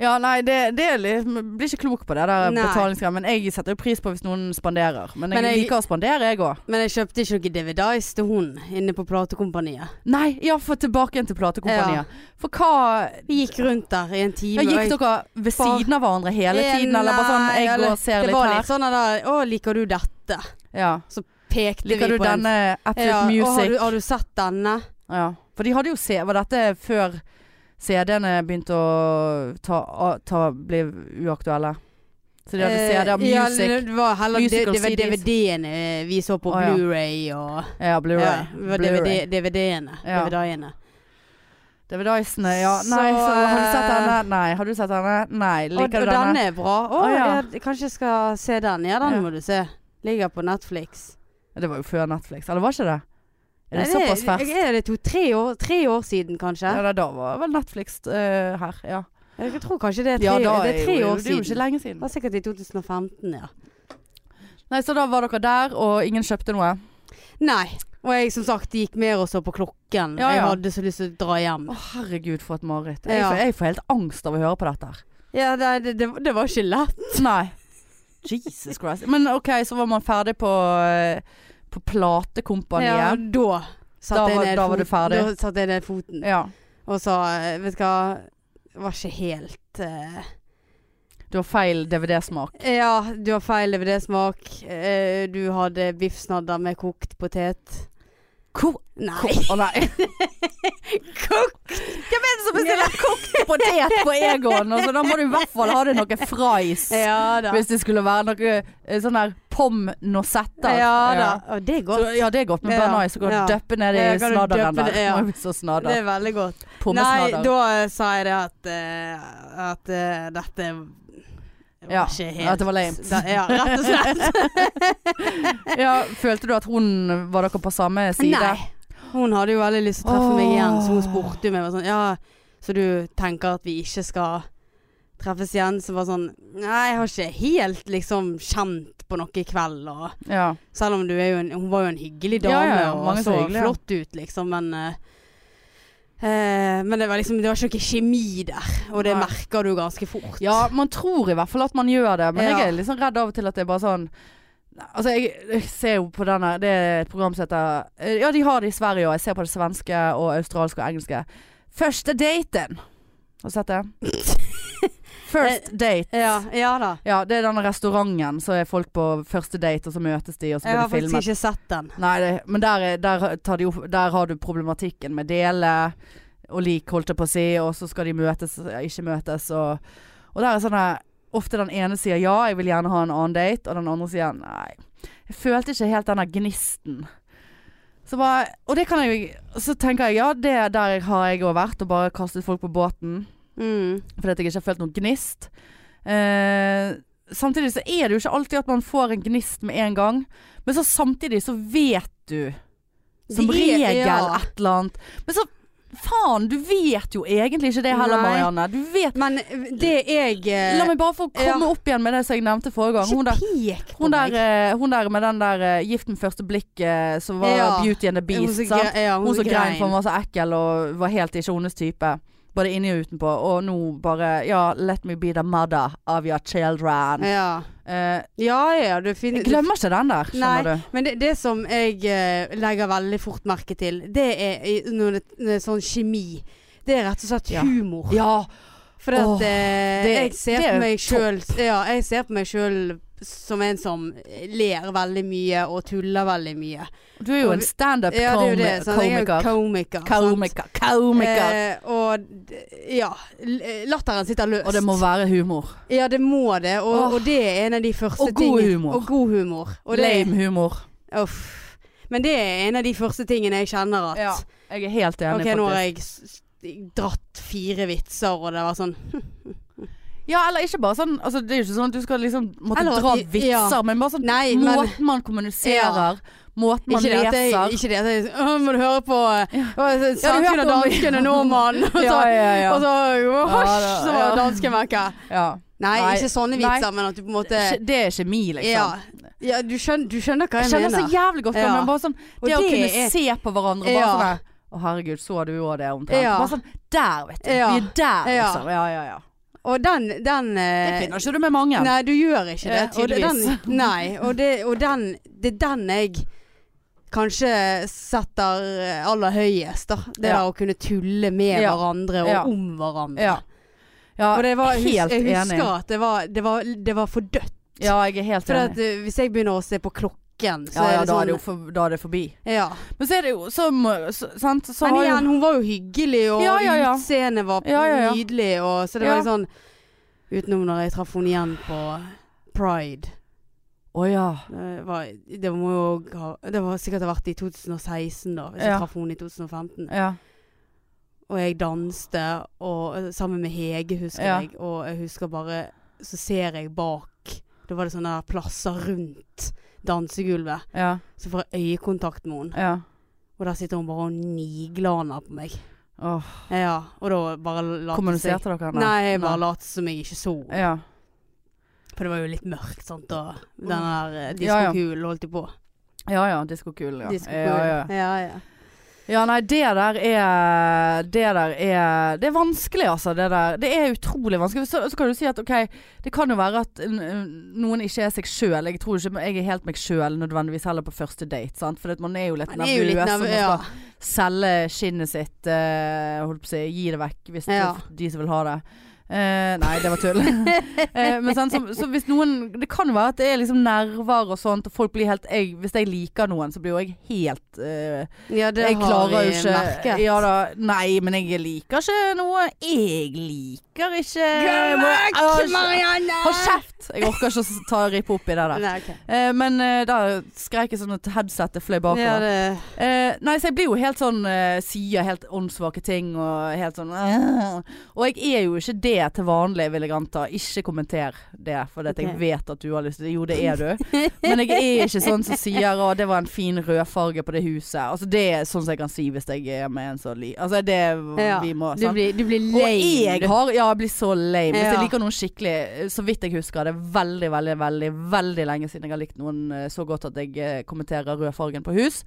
Speaker 1: Ja, nei, det, det er litt, blir ikke klok på det der
Speaker 2: Nei.
Speaker 1: betalingsgreia. Men jeg setter jo pris på hvis noen spanderer. Men jeg,
Speaker 2: Men jeg-
Speaker 1: liker å spandere, jeg òg.
Speaker 2: Men jeg kjøpte ikke noe Dividise til hun inne på platekompaniet.
Speaker 1: Nei, ja, for tilbake igjen til platekompaniet. For hva
Speaker 2: Vi gikk rundt der i en
Speaker 1: ja,
Speaker 2: time.
Speaker 1: Gikk
Speaker 2: og jeg-
Speaker 1: dere ved
Speaker 2: Bare-
Speaker 1: siden av hverandre hele
Speaker 2: Eh,
Speaker 1: tiden? Eller bare sånn
Speaker 2: nei,
Speaker 1: 'jeg
Speaker 2: eller-
Speaker 1: går og ser
Speaker 2: det
Speaker 1: litt
Speaker 2: var
Speaker 1: her'?
Speaker 2: litt sånn der 'Å, liker du dette?'
Speaker 1: Ja.
Speaker 2: Pekte vi på
Speaker 1: Liker du
Speaker 2: en-
Speaker 1: denne Absolute
Speaker 2: Ja, «Å, har, du,
Speaker 1: Music?
Speaker 2: har du sett denne?
Speaker 1: Ja. For de hadde jo se... Var dette før CD-ene begynte å ta, å- ta, bli uaktuelle? Så de hadde
Speaker 2: Eh,
Speaker 1: CD-er,
Speaker 2: ja,
Speaker 1: music
Speaker 2: det var heller det,
Speaker 1: Musical
Speaker 2: det var
Speaker 1: CDs.
Speaker 2: DVD-ene eh, vi så på
Speaker 1: Å, ja.
Speaker 2: Blu-ray og
Speaker 1: Ja, Blu-ray.
Speaker 2: Ja, det var
Speaker 1: Blu-ray.
Speaker 2: DVD DVD-ene.
Speaker 1: Ja.
Speaker 2: DVD-ene.
Speaker 1: Davidicene, ja.
Speaker 2: Så,
Speaker 1: Nei, så, har du sett
Speaker 2: eh,
Speaker 1: denne? Nei. Har du sett denne? Nei.
Speaker 2: Og, og
Speaker 1: Liker du
Speaker 2: denne?
Speaker 1: denne?
Speaker 2: er bra. Å,
Speaker 1: Å, ja.
Speaker 2: jeg, kanskje jeg skal se den. Ja, den
Speaker 1: Ja.
Speaker 2: må du se. Ligger på Netflix.
Speaker 1: Det var jo før Netflix, eller var ikke det? Er det
Speaker 2: Nei,
Speaker 1: såpass ferskt?
Speaker 2: Er det to-tre år, tre år siden, kanskje?
Speaker 1: Ja, da, da var vel Netflix eh, her, ja.
Speaker 2: Jeg tror kanskje det er tre,
Speaker 1: Ja, da
Speaker 2: det er tre
Speaker 1: jo-
Speaker 2: år
Speaker 1: Det er jo ikke
Speaker 2: siden.
Speaker 1: lenge
Speaker 2: Det
Speaker 1: siden.
Speaker 2: var sikkert i 2015, ja.
Speaker 1: Nei, så da var dere der, og ingen kjøpte noe.
Speaker 2: Nei. Og jeg som sagt gikk mer og så på klokken.
Speaker 1: Ja,
Speaker 2: Jeg
Speaker 1: ja.
Speaker 2: hadde så lyst til å dra hjem.
Speaker 1: Å herregud, for et mareritt. Jeg,
Speaker 2: Ja.
Speaker 1: får- jeg får helt angst av å høre på dette her.
Speaker 2: Ja, det, det, det, det var ikke
Speaker 1: (laughs)
Speaker 2: lett.
Speaker 1: Nei. Jesus Christ. Men ok, så var man ferdig på, eh, på
Speaker 2: Ja,
Speaker 1: platekompaniet.
Speaker 2: da
Speaker 1: Da
Speaker 2: satte jeg
Speaker 1: var-
Speaker 2: ned
Speaker 1: da var du
Speaker 2: foten-
Speaker 1: ferdig.
Speaker 2: Da satte jeg ned foten
Speaker 1: Ja.
Speaker 2: og sa eh, Vet du hva, det var ikke helt eh,
Speaker 1: Du har feil DVD-smak.
Speaker 2: Ja, du har feil DVD-smak. Eh, du hadde biffsnadder med kokt potet.
Speaker 1: Hvor? Å
Speaker 2: Nei.
Speaker 1: (laughs) nei.
Speaker 2: Kokt?
Speaker 1: Hvem er det som bestiller kokt potet (laughs) på Egon? Altså, da må du i hvert fall ha det noe fries.
Speaker 2: (laughs) Ja da.
Speaker 1: Hvis det skulle være noe eh, sånn der pom norsetta.
Speaker 2: Ja da. Og det er
Speaker 1: Så,
Speaker 2: godt.
Speaker 1: ja, det er godt med
Speaker 2: Ja.
Speaker 1: bønner i, så kan du
Speaker 2: Ja.
Speaker 1: døppe ned i
Speaker 2: Ja, kan du
Speaker 1: snadderen
Speaker 2: døppe
Speaker 1: der.
Speaker 2: det, ja.
Speaker 1: Nå er vi så
Speaker 2: Det
Speaker 1: snadder.
Speaker 2: er veldig godt. Nei,
Speaker 1: Pommesnadder.
Speaker 2: da eh, sa jeg det at, eh, at eh, dette var
Speaker 1: Ja,
Speaker 2: ikke helt
Speaker 1: at det var lame.
Speaker 2: Da, ja, rett og slett.
Speaker 1: (laughs) Ja, følte du at hun var dere på samme side?
Speaker 2: Nei. Hun hadde jo veldig lyst til å treffe meg igjen, så hun
Speaker 1: Åh.
Speaker 2: spurte jo meg var sånn Ja, så du tenker at vi ikke skal treffes igjen? Så var sånn Nei, jeg har ikke helt liksom kjent på noe i kveld, og
Speaker 1: Ja.
Speaker 2: selv om du er jo en Hun var jo en hyggelig
Speaker 1: Ja,
Speaker 2: dame
Speaker 1: ja, ja,
Speaker 2: og
Speaker 1: mange
Speaker 2: så
Speaker 1: så hyggelige.
Speaker 2: flott ut, liksom, men eh, eh, eh, men det var liksom Det var ikke noe kjemi der, og det
Speaker 1: Nei.
Speaker 2: merker du ganske fort.
Speaker 1: Ja, man tror i hvert fall at man gjør det, men
Speaker 2: Ja.
Speaker 1: jeg er litt sånn redd av og til at det er bare sånn Altså, jeg, jeg ser jo på denne Det er et program som heter Ja, de har det i Sverige òg. Jeg ser på det svenske og australske og engelske. Første daten. Har du sett
Speaker 2: (laughs)
Speaker 1: det? First date.
Speaker 2: Ja, ja da.
Speaker 1: Ja, det er denne restauranten. Så er folk på første date, og så møtes de, og så
Speaker 2: Jeg
Speaker 1: blir
Speaker 2: har
Speaker 1: det
Speaker 2: faktisk
Speaker 1: filmet.
Speaker 2: ikke sett den.
Speaker 1: Nei, det, men der, er- der, tar de, opp- der har du problematikken med dele og lik, holdt jeg på å si, og så skal de møtes, ja, ikke møtes, og, og der er sånn her, ofte den ene sier ja, jeg vil gjerne ha en annen date, og den andre sier nei. Jeg følte ikke helt denne gnisten. Så bare, og det kan jeg, så tenker jeg, ja, det der har jeg også vært, og bare kastet folk på båten,
Speaker 2: Mm.
Speaker 1: fordi at jeg ikke har følt noen gnist. Eh, samtidig så er det jo ikke alltid at man får en gnist med en gang, men så samtidig så vet du som
Speaker 2: De er-
Speaker 1: regel
Speaker 2: ja.
Speaker 1: et eller annet. Men så faen, du vet jo egentlig ikke det heller,
Speaker 2: Nei.
Speaker 1: Marianne. Du vet
Speaker 2: Men det jeg eh,
Speaker 1: La meg bare få
Speaker 2: ja.
Speaker 1: komme opp igjen med det som jeg nevnte forrige gang. Hun
Speaker 2: Ikke
Speaker 1: der,
Speaker 2: pek på
Speaker 1: hun der,
Speaker 2: meg.
Speaker 1: eh, hun der med den der eh, gift med første blikk eh, som var
Speaker 2: Ja.
Speaker 1: Beauty and the
Speaker 2: Hun
Speaker 1: Beast.
Speaker 2: som
Speaker 1: sant?
Speaker 2: gre- ja,
Speaker 1: Hun som grein for
Speaker 2: grein.
Speaker 1: hun var så ekkel og var helt ikke hennes type. Både inni og utenpå. Og nå bare Ja, let me be the mother of your children.
Speaker 2: Ja.
Speaker 1: Eh,
Speaker 2: ja ja, du finner
Speaker 1: jeg glemmer ikke den der, skjønner
Speaker 2: Nei.
Speaker 1: du.
Speaker 2: Men det, det som jeg eh, legger veldig fort merke til, det er i- når det, når det er sånn kjemi. Det er rett og slett
Speaker 1: Ja.
Speaker 2: humor.
Speaker 1: Ja.
Speaker 2: For at,
Speaker 1: Åh,
Speaker 2: eh,
Speaker 1: det-
Speaker 2: jeg ser
Speaker 1: det er
Speaker 2: på meg sjøl ja, Jeg ser på meg sjøl som en som ler veldig mye og tuller veldig mye.
Speaker 1: Du er jo
Speaker 2: Og
Speaker 1: en
Speaker 2: vi- Ja, det er jo det. sant? Jeg er jo
Speaker 1: standup-komiker.
Speaker 2: komiker. sant?
Speaker 1: Komiker. Komiker.
Speaker 2: Eh, og d- ja. l- Latteren sitter løst.
Speaker 1: Og det må være humor.
Speaker 2: Ja, det må det. Og,
Speaker 1: Åh.
Speaker 2: og det er en av de første
Speaker 1: Og god
Speaker 2: tingene-
Speaker 1: humor.
Speaker 2: Og god humor. Og det-
Speaker 1: Lame humor.
Speaker 2: Uff. Men det er en av de første tingene jeg kjenner at
Speaker 1: Ja, jeg er helt enig,
Speaker 2: Ok, nå har
Speaker 1: faktisk.
Speaker 2: jeg s- dratt fire vitser, og det var sånn
Speaker 1: Ja, eller ikke bare sånn altså, Det er jo ikke sånn at du skal liksom måtte
Speaker 2: Eller at
Speaker 1: dra
Speaker 2: de-
Speaker 1: vitser,
Speaker 2: ja.
Speaker 1: men bare sånn
Speaker 2: Nei, men
Speaker 1: måten man kommuniserer, måten man
Speaker 2: ikke det, at jeg,
Speaker 1: (laughs) leser.
Speaker 2: ikke det at jeg «Åh, Må du høre på ja.
Speaker 1: hørte
Speaker 2: Saken og
Speaker 1: om-
Speaker 2: dansken og nordmannen? Og så,
Speaker 1: (laughs) Ja, ja, ja.
Speaker 2: og så, «Åh, hysj,
Speaker 1: Ja, da,
Speaker 2: så var
Speaker 1: ja.
Speaker 2: dansken vekke.
Speaker 1: ja.
Speaker 2: Nei,
Speaker 1: Nei,
Speaker 2: ikke sånne
Speaker 1: nei.
Speaker 2: vitser, men at du på en måte
Speaker 1: Det, det er kjemi,
Speaker 2: Ja,
Speaker 1: liksom.
Speaker 2: ja du, skjønner, du skjønner hva
Speaker 1: Jeg
Speaker 2: jeg,
Speaker 1: kjenner så
Speaker 2: mener.
Speaker 1: jævlig godt hva
Speaker 2: Ja.
Speaker 1: men bare sånn
Speaker 2: Og
Speaker 1: Det å kunne
Speaker 2: er-
Speaker 1: se på hverandre bare
Speaker 2: Ja.
Speaker 1: sånn der, Å, herregud, så du òg det, omtrent.
Speaker 2: Ja.
Speaker 1: Bare sånn Der, vet du.
Speaker 2: Ja.
Speaker 1: Vi er der,
Speaker 2: Ja.
Speaker 1: liksom. Ja, ja, ja.
Speaker 2: Og den, den eh,
Speaker 1: Det finner ikke du med mange.
Speaker 2: Nei, du gjør ikke det.
Speaker 1: Eh,
Speaker 2: og det,
Speaker 1: tydeligvis. (laughs)
Speaker 2: den, nei, og, det, og den, det er den jeg kanskje setter eh, aller høyest, da. Det
Speaker 1: Ja.
Speaker 2: der å kunne tulle med
Speaker 1: Ja.
Speaker 2: hverandre og
Speaker 1: Ja.
Speaker 2: om hverandre.
Speaker 1: Ja. ja.
Speaker 2: Og det var, hus-
Speaker 1: Helt
Speaker 2: jeg husker
Speaker 1: enig.
Speaker 2: at det var, det var, det var for dødt.
Speaker 1: Ja, jeg er helt
Speaker 2: For
Speaker 1: enig.
Speaker 2: at, eh, hvis jeg begynner å se på klokken, så
Speaker 1: Ja, ja,
Speaker 2: er det
Speaker 1: da er
Speaker 2: sånn
Speaker 1: det jo for, da er det forbi.
Speaker 2: ja.
Speaker 1: Men så er det jo så, må- så, sant? så
Speaker 2: Men
Speaker 1: har jo-
Speaker 2: igjen, hun var jo hyggelig, og
Speaker 1: Ja, ja, ja.
Speaker 2: utseendet var
Speaker 1: Ja, ja, ja.
Speaker 2: nydelig, og, så det
Speaker 1: Ja.
Speaker 2: var litt sånn Utenom når jeg traff henne igjen på Pride.
Speaker 1: Å ja.
Speaker 2: Det Eh, var, det, må jo, ha- det var sikkert ha vært i 2016 da, hvis
Speaker 1: Ja.
Speaker 2: jeg traff henne i 2015.
Speaker 1: ja.
Speaker 2: Og jeg danste og, eh, sammen med Hege, husker
Speaker 1: Ja.
Speaker 2: jeg. Og jeg husker bare, så ser jeg bak, da var det sånne der plasser rundt dansegulvet.
Speaker 1: Ja.
Speaker 2: Så får jeg øyekontakt med henne,
Speaker 1: Ja.
Speaker 2: og der sitter hun bare og niglaner på meg.
Speaker 1: Åh,
Speaker 2: Ja, og da bare later jeg-
Speaker 1: kommuniserte dere henne?
Speaker 2: Nei, jeg bare lot som jeg ikke så henne.
Speaker 1: Ja.
Speaker 2: For det var jo litt mørkt, sant, og den der eh,
Speaker 1: Ja, ja.
Speaker 2: diskokul holdt jeg på.
Speaker 1: ja ja, diskokul. Ja.
Speaker 2: Diskokul.
Speaker 1: Ja, ja.
Speaker 2: ja, ja.
Speaker 1: ja nei, det der er Det der er Det er vanskelig, altså. Det der. Det er utrolig vanskelig. Så, så kan du si at ok, det kan jo være at n- noen ikke er seg sjøl. Jeg tror ikke jeg er helt meg sjøl nødvendigvis heller på første date, sant. For at man er jo litt
Speaker 2: Man er jo
Speaker 1: nervøs.
Speaker 2: litt
Speaker 1: og man
Speaker 2: nervøs.
Speaker 1: skal
Speaker 2: Ja.
Speaker 1: selge skinnet sitt eh, holdt på å si, Gi det vekk hvis
Speaker 2: Ja.
Speaker 1: det- de som vil ha det. Eh, nei, det var
Speaker 2: (laughs)
Speaker 1: tull. Eh, men sant, så, så hvis noen Det kan jo være at det er liksom nerver og sånt, og folk blir helt jeg, Hvis jeg liker noen, så blir jo jeg helt eh,
Speaker 2: Ja, det
Speaker 1: Jeg
Speaker 2: har
Speaker 1: klarer
Speaker 2: vi
Speaker 1: jo ikke
Speaker 2: merket.
Speaker 1: Ja da. Nei, men jeg liker ikke noe. Jeg liker ikke Åh,
Speaker 2: Marianne!
Speaker 1: Hold kjeft! Jeg orker ikke å ta rippe opp i det der.
Speaker 2: Nei, ok.
Speaker 1: Eh, men eh, da skrek jeg sånn at headsetet fløy bakover.
Speaker 2: Ja, det,
Speaker 1: Eh, nei, så jeg blir jo helt sånn eh, Sier helt åndssvake ting og helt sånn eh. Og jeg er jo ikke det er til vanlig, vil jeg anta. Ikke kommenter det, for det at jeg
Speaker 2: Ok.
Speaker 1: vet at du har lyst til det. Jo, det er du. Men jeg er ikke sånn som sier 'å, det var en fin rødfarge på det huset'. Altså, det er sånn som jeg kan si hvis jeg er med en sånn li... Altså, det er
Speaker 2: Ja,
Speaker 1: vi må
Speaker 2: Du
Speaker 1: sant?
Speaker 2: blir, du blir
Speaker 1: Og
Speaker 2: lame.
Speaker 1: jeg
Speaker 2: du.
Speaker 1: har Ja, jeg blir så lame. Hvis
Speaker 2: Ja.
Speaker 1: jeg liker noen skikkelig eh, Så vidt jeg husker, det er veldig, veldig, veldig veldig lenge siden jeg har likt noen eh, så godt at jeg eh, kommenterer rødfargen på hus.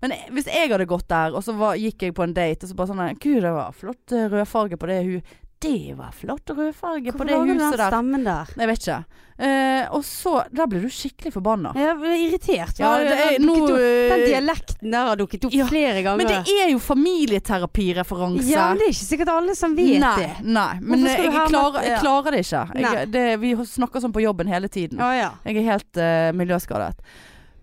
Speaker 1: Men eh, hvis jeg hadde gått der, og så var, gikk jeg på en date, og så bare sånn eh, Gud, det var flott eh, rødfarge på det huset. Det var flott rødfarge på
Speaker 2: Hvorfor
Speaker 1: det
Speaker 2: lager du
Speaker 1: huset
Speaker 2: den
Speaker 1: der.
Speaker 2: stemmen sånn der?
Speaker 1: Jeg vet ikke. Eh, og så Da blir du skikkelig forbanna.
Speaker 2: Jeg blir irritert.
Speaker 1: Ja,
Speaker 2: Hva-
Speaker 1: det
Speaker 2: den
Speaker 1: er,
Speaker 2: dukket
Speaker 1: nå,
Speaker 2: opp- den
Speaker 1: eh,
Speaker 2: dialekten der har dukket opp
Speaker 1: Ja,
Speaker 2: flere ganger.
Speaker 1: men det er jo familieterapireferanse.
Speaker 2: ja, men det er ikke sikkert alle som vet
Speaker 1: nei,
Speaker 2: det.
Speaker 1: Nei, men
Speaker 2: Hvorfor skal
Speaker 1: jeg,
Speaker 2: du ha med-
Speaker 1: klarer, jeg
Speaker 2: Ja.
Speaker 1: klarer det ikke.
Speaker 2: Nei.
Speaker 1: Jeg, det, vi snakker sånn på jobben hele tiden.
Speaker 2: Å ja.
Speaker 1: Jeg er helt eh, miljøskadet.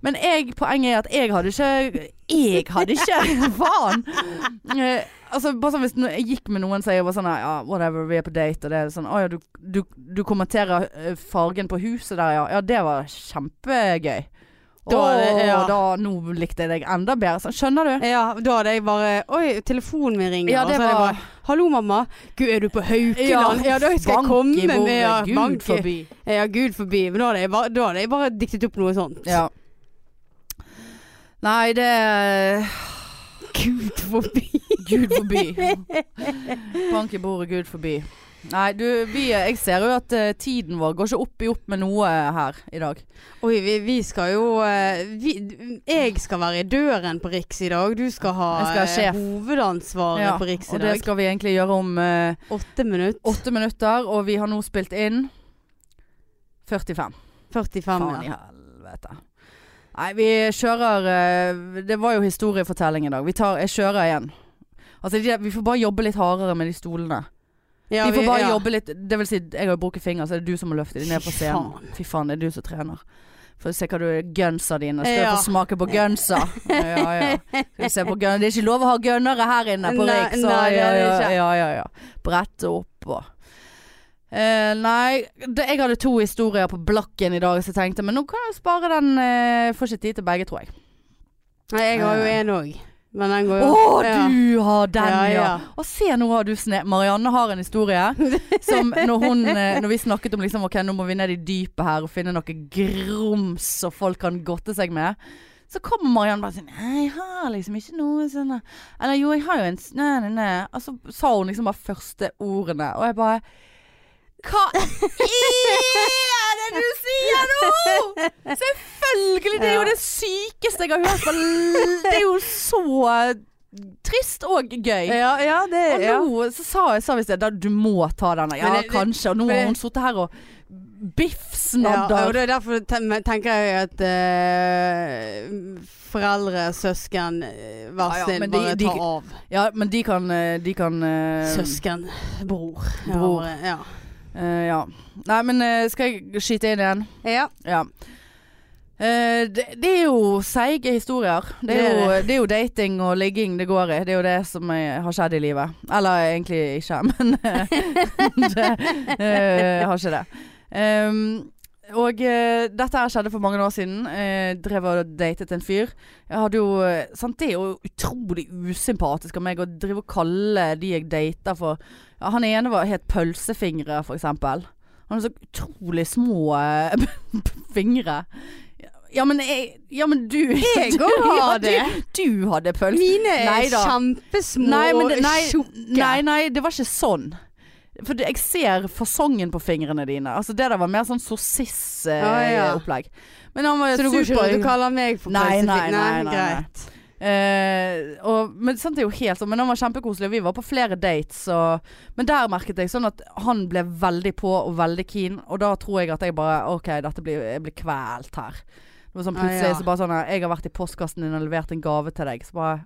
Speaker 1: Men jeg, poenget er at jeg hadde ikke Jeg hadde ikke
Speaker 2: (laughs)
Speaker 1: (laughs) Faen! Eh, altså, bare sånn hvis no- jeg gikk med noen, så jeg var sånn Ja, whatever, vi er på date, og det er sånn Å ja, du, du, du kommenterer eh, fargen på huset der, ja. Ja, det var kjempegøy. Da,
Speaker 2: Da er det- ja.
Speaker 1: da Nå likte jeg deg enda bedre. Sånn, skjønner du?
Speaker 2: ja. Da hadde jeg bare Oi, telefonen min ringer.
Speaker 1: Ja,
Speaker 2: Og
Speaker 1: det
Speaker 2: så hadde jeg
Speaker 1: var-
Speaker 2: bare, Hallo, mamma. Gud, er du på Haukeland? Ja, da skal jeg komme
Speaker 1: i
Speaker 2: med
Speaker 1: bordet,
Speaker 2: ja,
Speaker 1: Gud
Speaker 2: bank i-
Speaker 1: forby.
Speaker 2: Ja, Gud forbi. Men da hadde jeg bare, da hadde jeg bare diktet opp noe sånt.
Speaker 1: Ja. Nei, det
Speaker 2: Gud forbi.
Speaker 1: Gud forby. Bank i bordet, Gud forby. Nei, du, vi, jeg ser jo at eh, tiden vår går ikke opp i opp med noe her i dag.
Speaker 2: Oi, vi, vi skal jo eh, vi, Jeg skal være i døren på Riks i dag. Du skal ha
Speaker 1: Jeg skal ha
Speaker 2: eh,
Speaker 1: sjef.
Speaker 2: hovedansvaret
Speaker 1: Ja,
Speaker 2: på Riks i
Speaker 1: Og det
Speaker 2: dag.
Speaker 1: skal vi egentlig gjøre om eh,
Speaker 2: Åtte minutter.
Speaker 1: åtte minutter, og vi har nå spilt inn 45.
Speaker 2: 45
Speaker 1: Faen
Speaker 2: ja.
Speaker 1: i helvete. Nei, vi kjører eh, Det var jo historiefortelling i dag. Vi tar, jeg kjører igjen. Altså, de, vi får bare jobbe litt hardere med de stolene.
Speaker 2: Ja,
Speaker 1: vi får bare
Speaker 2: ja.
Speaker 1: jobbe litt Det vil si, jeg har jo brukket fingeren, så er det du som må løfte dem ned på
Speaker 2: Fy
Speaker 1: scenen. Fy faen, det er du som trener. Få se hva du gunsa dine. Skal
Speaker 2: Ja.
Speaker 1: du få smake på gunsa? Ja, ja. Skal vi se på gun Det er ikke lov å ha gunnere her inne på
Speaker 2: Nei,
Speaker 1: Riks.
Speaker 2: nei, det
Speaker 1: ja,
Speaker 2: er det
Speaker 1: ja,
Speaker 2: ikke.
Speaker 1: ja, ja, ja. Brette opp og Eh, nei, det, jeg hadde to historier på blakken i dag, så jeg tenkte men nå kan jeg spare den. eh, får ikke tid til begge, tror jeg.
Speaker 2: Nei, jeg har jo
Speaker 1: Eh.
Speaker 2: en òg. Men den går
Speaker 1: Å,
Speaker 2: jo Ja.
Speaker 1: du har den,
Speaker 2: Ja,
Speaker 1: ja.
Speaker 2: ja.
Speaker 1: Og se, nå har du sne... Marianne har en historie som når, hun, eh, når vi snakket om liksom, ok, nå må vi ned i dypet her og finne noe grums som folk kan godte seg med. Så kommer Marianne bare sånn Nei, jeg har liksom ikke noe sånn Eller jo, jeg har jo en s- Nei, nei, nei. Og så sa hun liksom bare første ordene, og jeg bare Hva er det du sier nå?! Selvfølgelig! Det er jo det sykeste jeg har hørt. på- Det er jo så trist og gøy.
Speaker 2: Ja, ja, det
Speaker 1: Og
Speaker 2: ja.
Speaker 1: nå så sa jeg sa vi sted du må ta denne. Ja,
Speaker 2: Men det- det-
Speaker 1: kanskje. Og nå
Speaker 2: men
Speaker 1: har
Speaker 2: det-
Speaker 1: hun sittet her og
Speaker 2: Ja, og
Speaker 1: biffsnadder.
Speaker 2: det er derfor ten- tenker jeg at eh, foreldre, søsken, eh, vær
Speaker 1: Ja, ja,
Speaker 2: snill,
Speaker 1: men de-
Speaker 2: bare
Speaker 1: de-
Speaker 2: ta av.
Speaker 1: Ja, men de kan, eh, de kan eh,
Speaker 2: Søsken, bror. Ja,
Speaker 1: Bror.
Speaker 2: bare- Ja.
Speaker 1: eh, ja. Nei, men eh, skal jeg skyte inn igjen?
Speaker 2: ja.
Speaker 1: (laughs) Ja. Eh, det, det er jo seige historier. Det er,
Speaker 2: Det er
Speaker 1: jo, det er jo dating og ligging det går i. Det er jo det som eh, har skjedd i livet. Eller egentlig ikke, (laughs) men eh, det eh, har ikke det. Ehm, og eh, dette her skjedde for mange år siden. Eh, drev og datet en fyr. Jeg hadde jo eh, sant, Det er jo utrolig usympatisk av meg å drive og kalle de jeg dater for ja, Han ene var het pølsefingre, for eksempel. Han hadde så utrolig små eh, (laughs) fingre. Ja, men jeg Ja, men du (laughs)
Speaker 2: Jeg
Speaker 1: du-
Speaker 2: òg har
Speaker 1: ja, du- Du hadde pølse.
Speaker 2: Mine er
Speaker 1: Neida.
Speaker 2: kjempesmå
Speaker 1: Nei, men
Speaker 2: og
Speaker 1: det, nei,
Speaker 2: tjukke.
Speaker 1: nei, nei, det var ikke sånn. For det, jeg ser fasongen på fingrene dine. Altså Det der var mer sånn
Speaker 2: Ah,
Speaker 1: sossis-opplegg.
Speaker 2: ja.
Speaker 1: Men han var
Speaker 2: Så du går ikke
Speaker 1: super
Speaker 2: rundt og kaller meg for
Speaker 1: Nei, nei,
Speaker 2: pølsefingre?
Speaker 1: nei, nei, nei.
Speaker 2: greit.
Speaker 1: Eh, og, men sant, det er jo helt sånn Men han var kjempekoselig, og vi var på flere dates. Og, men der merket jeg sånn at han ble veldig på og veldig keen, og da tror jeg at jeg bare OK, dette blir, jeg blir kvelt her. Det var sånn
Speaker 2: Ah,
Speaker 1: plutselig
Speaker 2: ja.
Speaker 1: så bare sånn Jeg har vært i postkassen din og levert en gave til deg. Så bare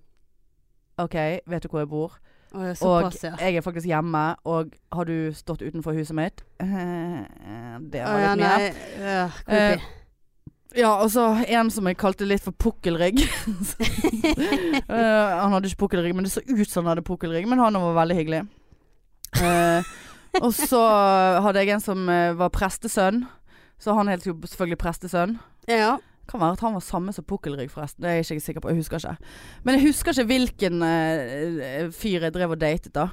Speaker 1: OK, vet du hvor jeg bor?
Speaker 2: Å, ja,
Speaker 1: Og
Speaker 2: såpass, ja.
Speaker 1: jeg er faktisk hjemme, og har du stått utenfor huset mitt? (laughs) Eh, Det
Speaker 2: Å,
Speaker 1: var
Speaker 2: Ah, ja,
Speaker 1: litt mye.
Speaker 2: nei, Eh, ja, creepy.
Speaker 1: Ja, og så en som jeg kalte litt for (laughs) pukkelrygg. Eh, han hadde ikke pukkelrygg, men det så ut som han hadde pukkelrygg. Men han var veldig hyggelig. Eh, og så hadde jeg en som eh, var prestesønn. Så han het jo selvfølgelig prestesønn.
Speaker 2: ja.
Speaker 1: Kan være at han var samme som Pukkelrygg, forresten. Det er jeg ikke sikker på. Jeg husker ikke. Men jeg husker ikke hvilken eh, fyr jeg drev og datet, da.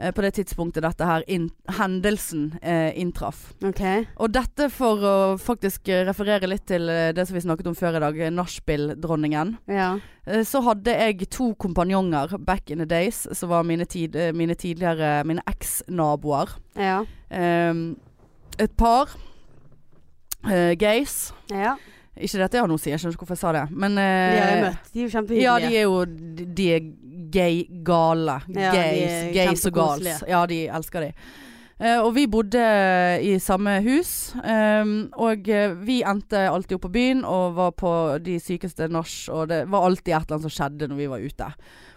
Speaker 1: eh, på det tidspunktet dette her inn- hendelsen eh, inntraff.
Speaker 2: Ok.
Speaker 1: Og dette for å faktisk eh, referere litt til eh, det som vi snakket om før i dag, eh, nachspiel-dronningen.
Speaker 2: Ja.
Speaker 1: Eh, Så hadde jeg to kompanjonger back in the days, som var mine, tid, eh, mine tidligere Mine eks-naboer.
Speaker 2: Ja.
Speaker 1: Eh, et par. Eh, gays.
Speaker 2: ja.
Speaker 1: Ikke dette jeg har noe å si, jeg skjønner ikke hvorfor jeg sa det. Men
Speaker 2: De har jeg
Speaker 1: eh,
Speaker 2: møtt. De er jo
Speaker 1: ja,
Speaker 2: kjempehyggelige.
Speaker 1: de er jo de- De er gay-gale.
Speaker 2: Ja, de er
Speaker 1: Gays. Gays og gals.
Speaker 2: kjempekoselige.
Speaker 1: Ja, de elsker de. Eh, og vi bodde i samme hus, ehm, og eh, vi endte alltid opp på byen og var på de sykeste nach, og det var alltid et eller annet som skjedde når vi var ute.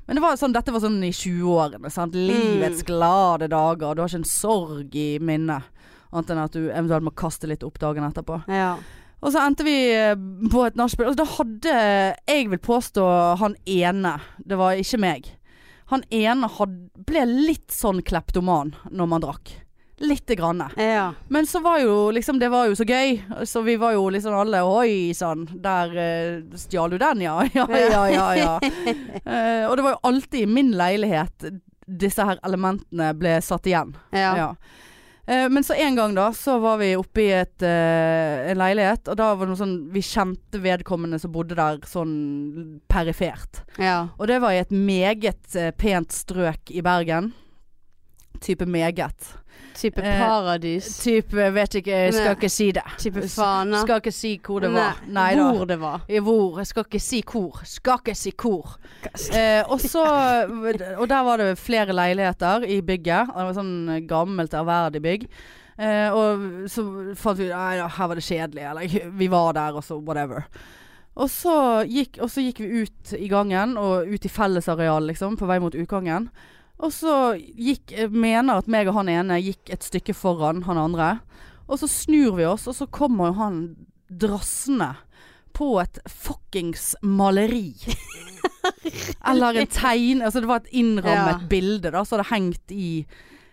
Speaker 1: Men det var sånn, dette var sånn i 20-årene. sant?
Speaker 2: Mm.
Speaker 1: Livets glade dager. Du har ikke en sorg i minnet, annet enn at du eventuelt må kaste litt opp dagen etterpå.
Speaker 2: Ja.
Speaker 1: Og så endte vi eh, på et nachspiel. Og da hadde, jeg vil påstå, han ene Det var ikke meg. Han ene had- ble litt sånn kleptoman når man drakk. Lite grann.
Speaker 2: Ja.
Speaker 1: Men så var jo liksom Det var jo så gøy. Så vi var jo liksom alle Oi sann, der eh, stjal du den, ja. (laughs) Ja, ja, ja. ja. Eh, og det var jo alltid i min leilighet disse her elementene ble satt igjen.
Speaker 2: Ja.
Speaker 1: Ja. Eh, Men så en gang da, så var vi oppe i et, eh, en leilighet, og da var det noe sånn Vi kjente vedkommende som bodde der sånn perifert.
Speaker 2: ja.
Speaker 1: Og det var i et meget eh, pent strøk i Bergen. Type meget.
Speaker 2: Type
Speaker 1: Eh,
Speaker 2: paradis.
Speaker 1: Type vet ikke, jeg skal
Speaker 2: Nei.
Speaker 1: ikke si det.
Speaker 2: Type fana.
Speaker 1: Skal ikke si hvor det var. Nei da.
Speaker 2: Hvor det var.
Speaker 1: I hvor. Jeg skal ikke si hvor. Skal ikke si hvor. Eh, og så Og der var det flere leiligheter i bygget. Og det var sånn gammelt, ærverdig bygg. Eh, og så fant vi ut Nei, ja, her var det kjedelig. Eller vi var der, og så whatever. Og så gikk, og så gikk vi ut i gangen, og ut i fellesareal, liksom, på vei mot utgangen. Og så gikk Jeg mener at meg og han ene gikk et stykke foran han andre. Og så snur vi oss, og så kommer jo han drassende på et fuckings maleri. Eller en tegn Altså det var et innrammet
Speaker 2: Ja.
Speaker 1: bilde, da, så det hengt i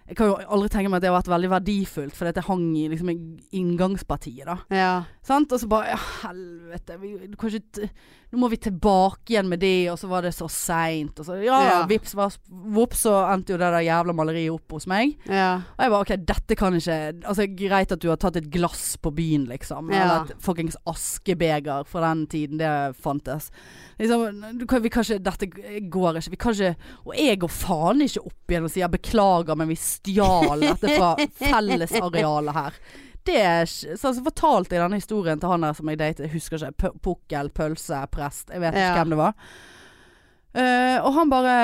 Speaker 1: Jeg kan jo aldri tenke meg at det har vært veldig verdifullt, for det hang i liksom, i inngangspartiet, da.
Speaker 2: Ja.
Speaker 1: Sant? Og så bare ja, helvete, vi, du kan ikke t nå må vi tilbake igjen med det, og så var det så seint. Og så ja,
Speaker 2: Ja.
Speaker 1: vips, var, vops, så endte jo det der jævla maleriet opp hos meg.
Speaker 2: Ja.
Speaker 1: Og jeg bare OK, dette kan ikke Altså Greit at du har tatt et glass på byen, liksom.
Speaker 2: Ja.
Speaker 1: Eller et fuckings askebeger fra den tiden det fantes. Liksom, du kan, vi kan ikke Dette går ikke. Vi kan ikke Og jeg går faen ikke opp igjen og sier 'beklager, men vi stjal dette
Speaker 2: (laughs)
Speaker 1: fra fellesarealet her'. Det er ikke Så altså, fortalte jeg denne historien til han der som jeg datet, jeg husker ikke, pu- pukkel, pølse, prest, jeg vet ikke
Speaker 2: Ja.
Speaker 1: hvem det var. Eh, og han bare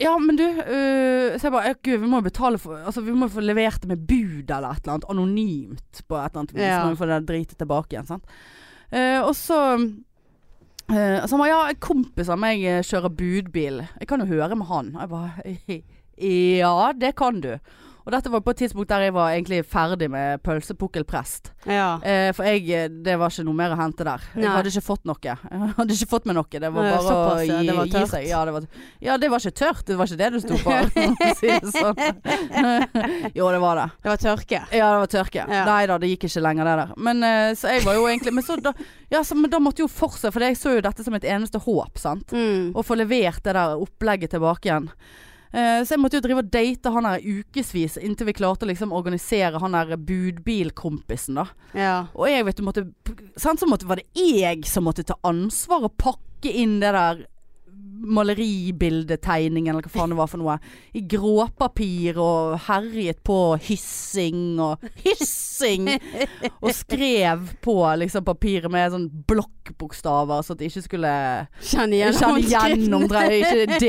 Speaker 1: ja, men du øh, Så jeg bare «Ja, Gud, vi må jo betale for Altså, vi må få levert det med bud eller et eller annet Anonymt på et eller annet vis
Speaker 2: Ja.
Speaker 1: Så må vi få det dritet tilbake igjen, sant Eh, Og så eh, Så han bare Ja, en kompis av meg eh, kjører budbil Jeg kan jo høre med han Og jeg bare Ja, det kan du Og dette var på et tidspunkt der jeg var egentlig ferdig med pølsepukkelprest
Speaker 2: Ja.
Speaker 1: Eh, For jeg, eh, det var ikke noe mer å hente der Jeg
Speaker 2: Nei.
Speaker 1: hadde ikke fått noe (laughs) Jeg hadde ikke fått meg noe Det var
Speaker 2: Nei,
Speaker 1: bare
Speaker 2: såpass,
Speaker 1: å
Speaker 2: ja.
Speaker 1: gi,
Speaker 2: Det var
Speaker 1: gi
Speaker 2: tørt.
Speaker 1: seg ja det, var, ja, det var ikke tørt Det var ikke det du sto på (laughs) for å si det
Speaker 2: (laughs)
Speaker 1: sånn. Jo, det var det
Speaker 2: Det var tørke.
Speaker 1: Ja, det var tørke
Speaker 2: Ja.
Speaker 1: Nei da, det gikk ikke lenger det der Men eh, så jeg var jo egentlig Men, så da, ja, så, men da måtte jo fortsette For jeg så jo dette som et eneste håp, sant?
Speaker 2: Mm.
Speaker 1: Og få levert det der opplegget tilbake igjen. Eh, så jeg måtte jo drive og date han her ukevis inntil vi klarte å liksom organisere han der budbilkompisen, da.
Speaker 2: Ja.
Speaker 1: Og jeg vet du måtte sant, Så måtte, var det jeg som måtte ta ansvar og pakke inn det der maleribildetegningen eller hva faen det var for noe. I gråpapir og herjet på hyssing og (laughs) hyssing! Og skrev på liksom papiret med sånn blokkbokstaver så at det ikke skulle
Speaker 2: Kjenn igjen
Speaker 1: jeg kjenner
Speaker 2: håndskriften. (laughs)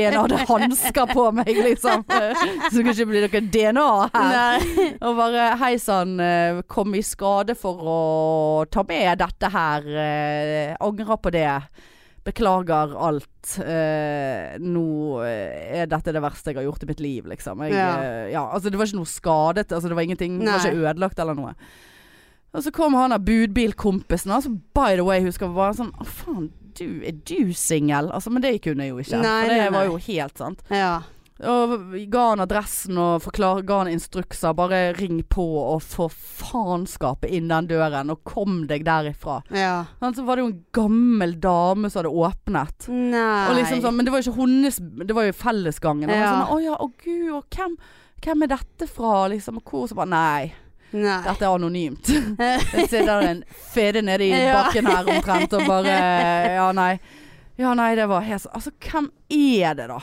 Speaker 1: gjennom det. Jeg er Ikke DNA, det er hansker på meg, liksom. Så det kan ikke bli noe DNA her.
Speaker 2: Nei.
Speaker 1: (laughs) Og bare hei sann, eh, kom i skade for å ta med dette her. eh, Angrer på det. Beklager alt. Eh, Nå eh, er dette det verste jeg har gjort i mitt liv, liksom. Jeg,
Speaker 2: Ja.
Speaker 1: eh, ja, altså, det var ikke noe skadet, altså, det var ingenting det var
Speaker 2: Nei.
Speaker 1: ikke ødelagt eller noe. Og så kom han der budbilkompisen, altså, by the way, husker jeg var sånn Å, faen, du, er du singel? Altså, men det kunne jeg jo ikke.
Speaker 2: Nei,
Speaker 1: for det
Speaker 2: nei, nei.
Speaker 1: var jo helt sant.
Speaker 2: Ja.
Speaker 1: Og ga han adressen og forklar, ga han instrukser. Bare ring på og for faenskapet inn den døren, og kom deg derifra.
Speaker 2: Ja.
Speaker 1: Men så var det jo en gammel dame som hadde åpnet.
Speaker 2: Nei.
Speaker 1: Og liksom sånn, men det var jo ikke hennes Det var jo fellesgangen. Og
Speaker 2: Ja.
Speaker 1: sånn, å ja, å gud, og hvem, hvem er dette fra? Liksom, og hvor? Så bare nei,
Speaker 2: Nei.
Speaker 1: dette er anonymt. Det sitter en fede nede i
Speaker 2: (laughs) Ja.
Speaker 1: bakken her omtrent og bare Ja, nei. Ja, nei, det var helt sånn Altså, hvem er det, da?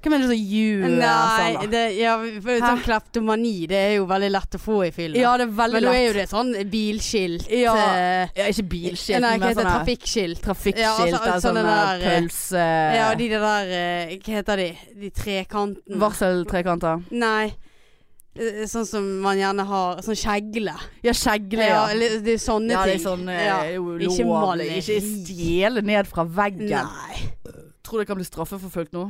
Speaker 1: Hvem er det som gjør sånn, da?
Speaker 2: Nei, det, ja, for sånn
Speaker 1: Hæ?
Speaker 2: kleptomani det er jo veldig lett å få i fylla.
Speaker 1: Ja, det er veldig
Speaker 2: Men nå er
Speaker 1: lett.
Speaker 2: jo det sånn bilskilt
Speaker 1: Ja.
Speaker 2: eh,
Speaker 1: Ja, ikke
Speaker 2: Nei,
Speaker 1: bilskilt,
Speaker 2: hva
Speaker 1: men
Speaker 2: heter det?
Speaker 1: sånne
Speaker 2: Trafikkskilt.
Speaker 1: trafikkskilt.
Speaker 2: Ja, altså,
Speaker 1: eller
Speaker 2: sånne
Speaker 1: sånne
Speaker 2: der, eh,
Speaker 1: pølse...
Speaker 2: Ja, de der eh, Hva heter de? De trekantene?
Speaker 1: Varseltrekanter.
Speaker 2: Nei. Eh, Sånn som man gjerne har Sånn kjegle.
Speaker 1: Ja, skjegle,
Speaker 2: Ja,
Speaker 1: ja.
Speaker 2: eller det er sånne
Speaker 1: Ja, det er
Speaker 2: ting.
Speaker 1: sånn eh,
Speaker 2: Ja.
Speaker 1: jo,
Speaker 2: Ikke
Speaker 1: lovlig.
Speaker 2: maleri.
Speaker 1: Ikke stjele ned fra veggen.
Speaker 2: Nei.
Speaker 1: Tror du jeg kan bli straffeforfulgt nå?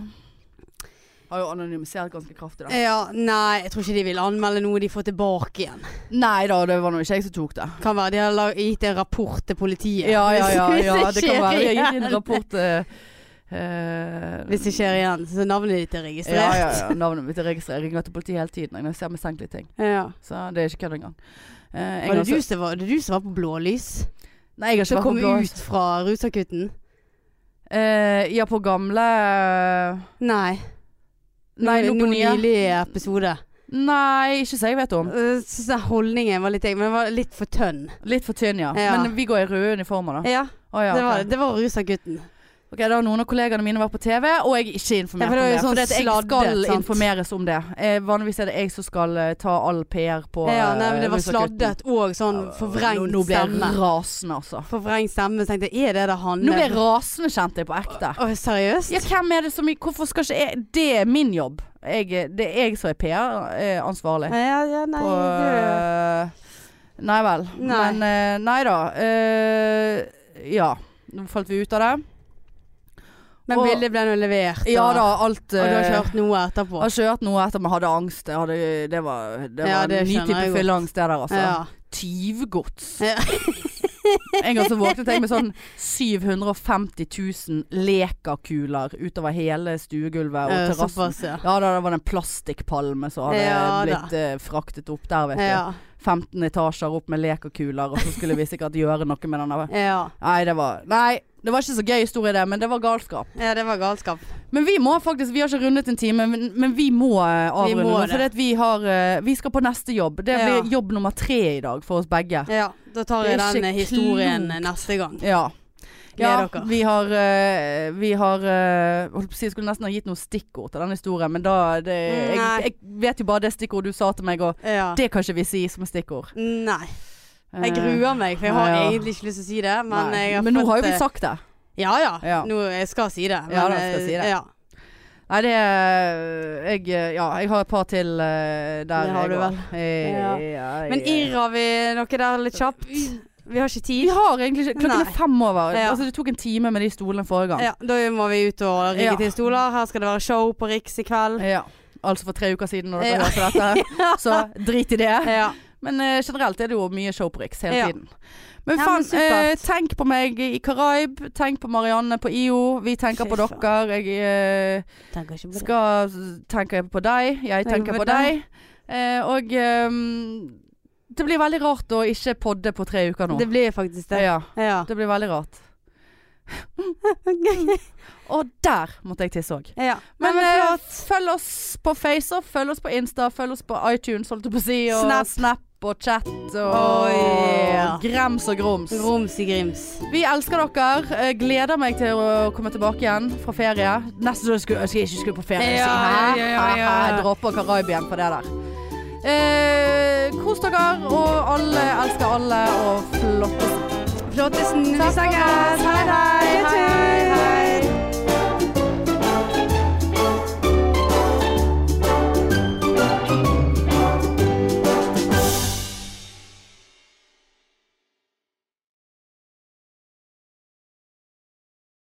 Speaker 1: Har jo anonymisert ganske kraftig, da.
Speaker 2: Ja, nei, jeg tror ikke de vil anmelde noe de får tilbake igjen.
Speaker 1: Nei da, det var nå ikke jeg som tok det.
Speaker 2: Kan være de har la- gitt en rapport til politiet.
Speaker 1: Ja, ja, ja.
Speaker 2: Hvis
Speaker 1: ja det kan
Speaker 2: skjer
Speaker 1: være. Jeg har gitt
Speaker 2: (laughs) igjen.
Speaker 1: en rapport eh, eh,
Speaker 2: Hvis det skjer igjen, så navnet ditt er registrert.
Speaker 1: ja, ja, ja. Navnet mitt er registrert. Jeg ringer til politiet hele tiden når jeg ser mistenkelige ting.
Speaker 2: (laughs) Ja.
Speaker 1: Så det er ikke kødd engang. Eh, en
Speaker 2: Var
Speaker 1: gang
Speaker 2: det,
Speaker 1: så-
Speaker 2: du som var, det du som var på blålys?
Speaker 1: Nei, jeg har
Speaker 2: Som
Speaker 1: ikke
Speaker 2: kom
Speaker 1: vært på blå.
Speaker 2: ut fra rusakutten?
Speaker 1: Eh, ja, på gamle eh,
Speaker 2: Nei.
Speaker 1: Nei, nå
Speaker 2: noen
Speaker 1: på nye. Mm.
Speaker 2: nylig episode.
Speaker 1: Nei, ikke så jeg vet om.
Speaker 2: Jeg synes den holdningen var litt eng, men den var litt for tønn.
Speaker 1: Litt for tynn, ja.
Speaker 2: Ja.
Speaker 1: Men vi går i røde uniformer, da.
Speaker 2: Ja,
Speaker 1: Å, ja,
Speaker 2: det
Speaker 1: ok.
Speaker 2: var, det var rusakutten.
Speaker 1: Ok, Da har noen av kollegaene mine vært på TV, og jeg er ikke informert
Speaker 2: Ja, for det er
Speaker 1: om
Speaker 2: jo
Speaker 1: det.
Speaker 2: sånn
Speaker 1: fordi at jeg
Speaker 2: sladdet,
Speaker 1: skal
Speaker 2: sant?
Speaker 1: informeres om det. Eh, vanligvis er det jeg som skal eh, ta all PR på
Speaker 2: Ja,
Speaker 1: eh,
Speaker 2: nei, men det var
Speaker 1: Rusa Kutten.
Speaker 2: sladdet og sånn
Speaker 1: Nå,
Speaker 2: forvrengt
Speaker 1: nå ble jeg
Speaker 2: stemme.
Speaker 1: rasende, altså.
Speaker 2: Forvrengt stemme. Så tenkte jeg, er sånn- det det han
Speaker 1: Nå ble jeg rasende, kjente jeg på ekte.
Speaker 2: Å, seriøst?
Speaker 1: Ja, hvem er det som Hvorfor skal ikke jeg Det er min jobb. Jeg, er- det er jeg som er eh, PR-ansvarlig.
Speaker 2: ja, ja, nei,
Speaker 1: på eh,
Speaker 2: det-
Speaker 1: Nei vel.
Speaker 2: Nei.
Speaker 1: Men eh, nei da. eh, ja. Nå falt vi ut av det.
Speaker 2: Men
Speaker 1: og-
Speaker 2: bildet ble nå levert.
Speaker 1: Ja
Speaker 2: og-
Speaker 1: da, alt
Speaker 2: Og du har
Speaker 1: eh,
Speaker 2: ikke hørt noe etterpå?
Speaker 1: Jeg har ikke hørt noe etter men hadde angst. Jeg hadde, det var, det var
Speaker 2: Ja, det
Speaker 1: en ny
Speaker 2: skjønner
Speaker 1: type
Speaker 2: jeg godt.
Speaker 1: fylleangst, det der, altså.
Speaker 2: Ja.
Speaker 1: Tyvgods.
Speaker 2: Ja.
Speaker 1: (laughs) en gang så våknet jeg med (laughs) sånn 750 000 lekakuler utover hele stuegulvet
Speaker 2: Eh,
Speaker 1: og terrassen.
Speaker 2: Såpass, ja.
Speaker 1: Ja da, det var en plastikkpalme som hadde
Speaker 2: Ja, da.
Speaker 1: blitt eh, fraktet opp der, vet du.
Speaker 2: Ja,
Speaker 1: 15 etasjer opp med lekakuler, og så skulle vi sikkert gjøre noe med den der.
Speaker 2: ja.
Speaker 1: Nei, det var Nei, det var ikke så gøy historie, det, men det var galskap.
Speaker 2: ja, det var galskap.
Speaker 1: Men vi må faktisk, vi har ikke rundet en time, men, men vi må eh,
Speaker 2: Vi
Speaker 1: avrunde
Speaker 2: må
Speaker 1: nå.
Speaker 2: det.
Speaker 1: For vi, har, eh, vi skal på neste jobb. Det
Speaker 2: Ja.
Speaker 1: blir jobb nummer tre i dag for oss begge.
Speaker 2: Ja, Da tar
Speaker 1: Det er
Speaker 2: jeg den
Speaker 1: ikke
Speaker 2: historien
Speaker 1: klokt.
Speaker 2: neste gang.
Speaker 1: Ja.
Speaker 2: Gleder
Speaker 1: Ja,
Speaker 2: dere.
Speaker 1: vi har, eh, vi har eh, holdt på å si, Jeg skulle nesten ha gitt noen stikkord til den historien, men da det, jeg,
Speaker 2: Mm, Nei.
Speaker 1: jeg vet jo bare det stikkordet du sa til meg, og
Speaker 2: Ja.
Speaker 1: det kan ikke vi si som stikkord.
Speaker 2: Nei.
Speaker 1: Eh,
Speaker 2: Jeg gruer meg, for jeg har
Speaker 1: Ja.
Speaker 2: egentlig ikke lyst til å si det. Men,
Speaker 1: nei.
Speaker 2: jeg har
Speaker 1: men nå
Speaker 2: fått,
Speaker 1: har jo
Speaker 2: eh,
Speaker 1: vi sagt det.
Speaker 2: Ja ja,
Speaker 1: Ja.
Speaker 2: Nå, jeg skal si det.
Speaker 1: Ja, da, skal si det.
Speaker 2: eh, Ja.
Speaker 1: Nei, det er- jeg, eh, ja, jeg har et par til eh, der.
Speaker 2: Det har
Speaker 1: jeg
Speaker 2: du
Speaker 1: går. Eh,
Speaker 2: Ja.
Speaker 1: ja,
Speaker 2: Men
Speaker 1: ja.
Speaker 2: irr har vi noe der litt kjapt? Vi har ikke
Speaker 1: Vi
Speaker 2: tid.
Speaker 1: har egentlig ikke Klokken
Speaker 2: Nei.
Speaker 1: er fem over.
Speaker 2: Ja.
Speaker 1: Altså, det tok en time med de stolene forrige gang.
Speaker 2: Ja, Da må vi ut og rigge
Speaker 1: Ja.
Speaker 2: til stoler. Her skal det være show på Riks i kveld.
Speaker 1: Ja. Altså for tre uker siden, når dere
Speaker 2: (laughs) Ja.
Speaker 1: hørte dette. Så drit i det.
Speaker 2: Ja.
Speaker 1: Men eh, generelt er det jo mye show på Riks hele
Speaker 2: Ja.
Speaker 1: tiden. Men
Speaker 2: Ja, men
Speaker 1: faen,
Speaker 2: supert.
Speaker 1: eh, tenk på meg i Karaib. Tenk på Marianne på IO. Vi tenker
Speaker 2: Fy
Speaker 1: på
Speaker 2: faen.
Speaker 1: dere. Jeg eh,
Speaker 2: Tenker ikke på det.
Speaker 1: skal tenke på deg. Jeg tenker på deg. Eh, og eh, det blir veldig rart å ikke podde på tre uker nå.
Speaker 2: Det blir faktisk det.
Speaker 1: ja, (laughs)
Speaker 2: Ja.
Speaker 1: det blir veldig rart. Og der måtte jeg tisse òg.
Speaker 2: ja.
Speaker 1: Men,
Speaker 2: Nei,
Speaker 1: eh,
Speaker 2: flott.
Speaker 1: følg oss på Facer, følg oss på Insta, følg oss på iTunes, holdt jeg på å si. Og
Speaker 2: Snap.
Speaker 1: og chat og
Speaker 2: Oh, yeah.
Speaker 1: grems og grums.
Speaker 2: Grums i grims.
Speaker 1: Vi elsker dere. Eh, Gleder meg til å komme tilbake igjen fra ferie. Nesten så jeg skulle ønske jeg ikke skulle på ferie.
Speaker 2: Ja,
Speaker 1: så,
Speaker 2: ja, ja, ja.
Speaker 1: Jeg dropper Karibien for det der. Eh, kos dere, og alle elsker alle, og flotte
Speaker 2: Flottesen. Vi
Speaker 1: Takk for
Speaker 2: snakkes.
Speaker 1: oss.
Speaker 2: Hei, hei.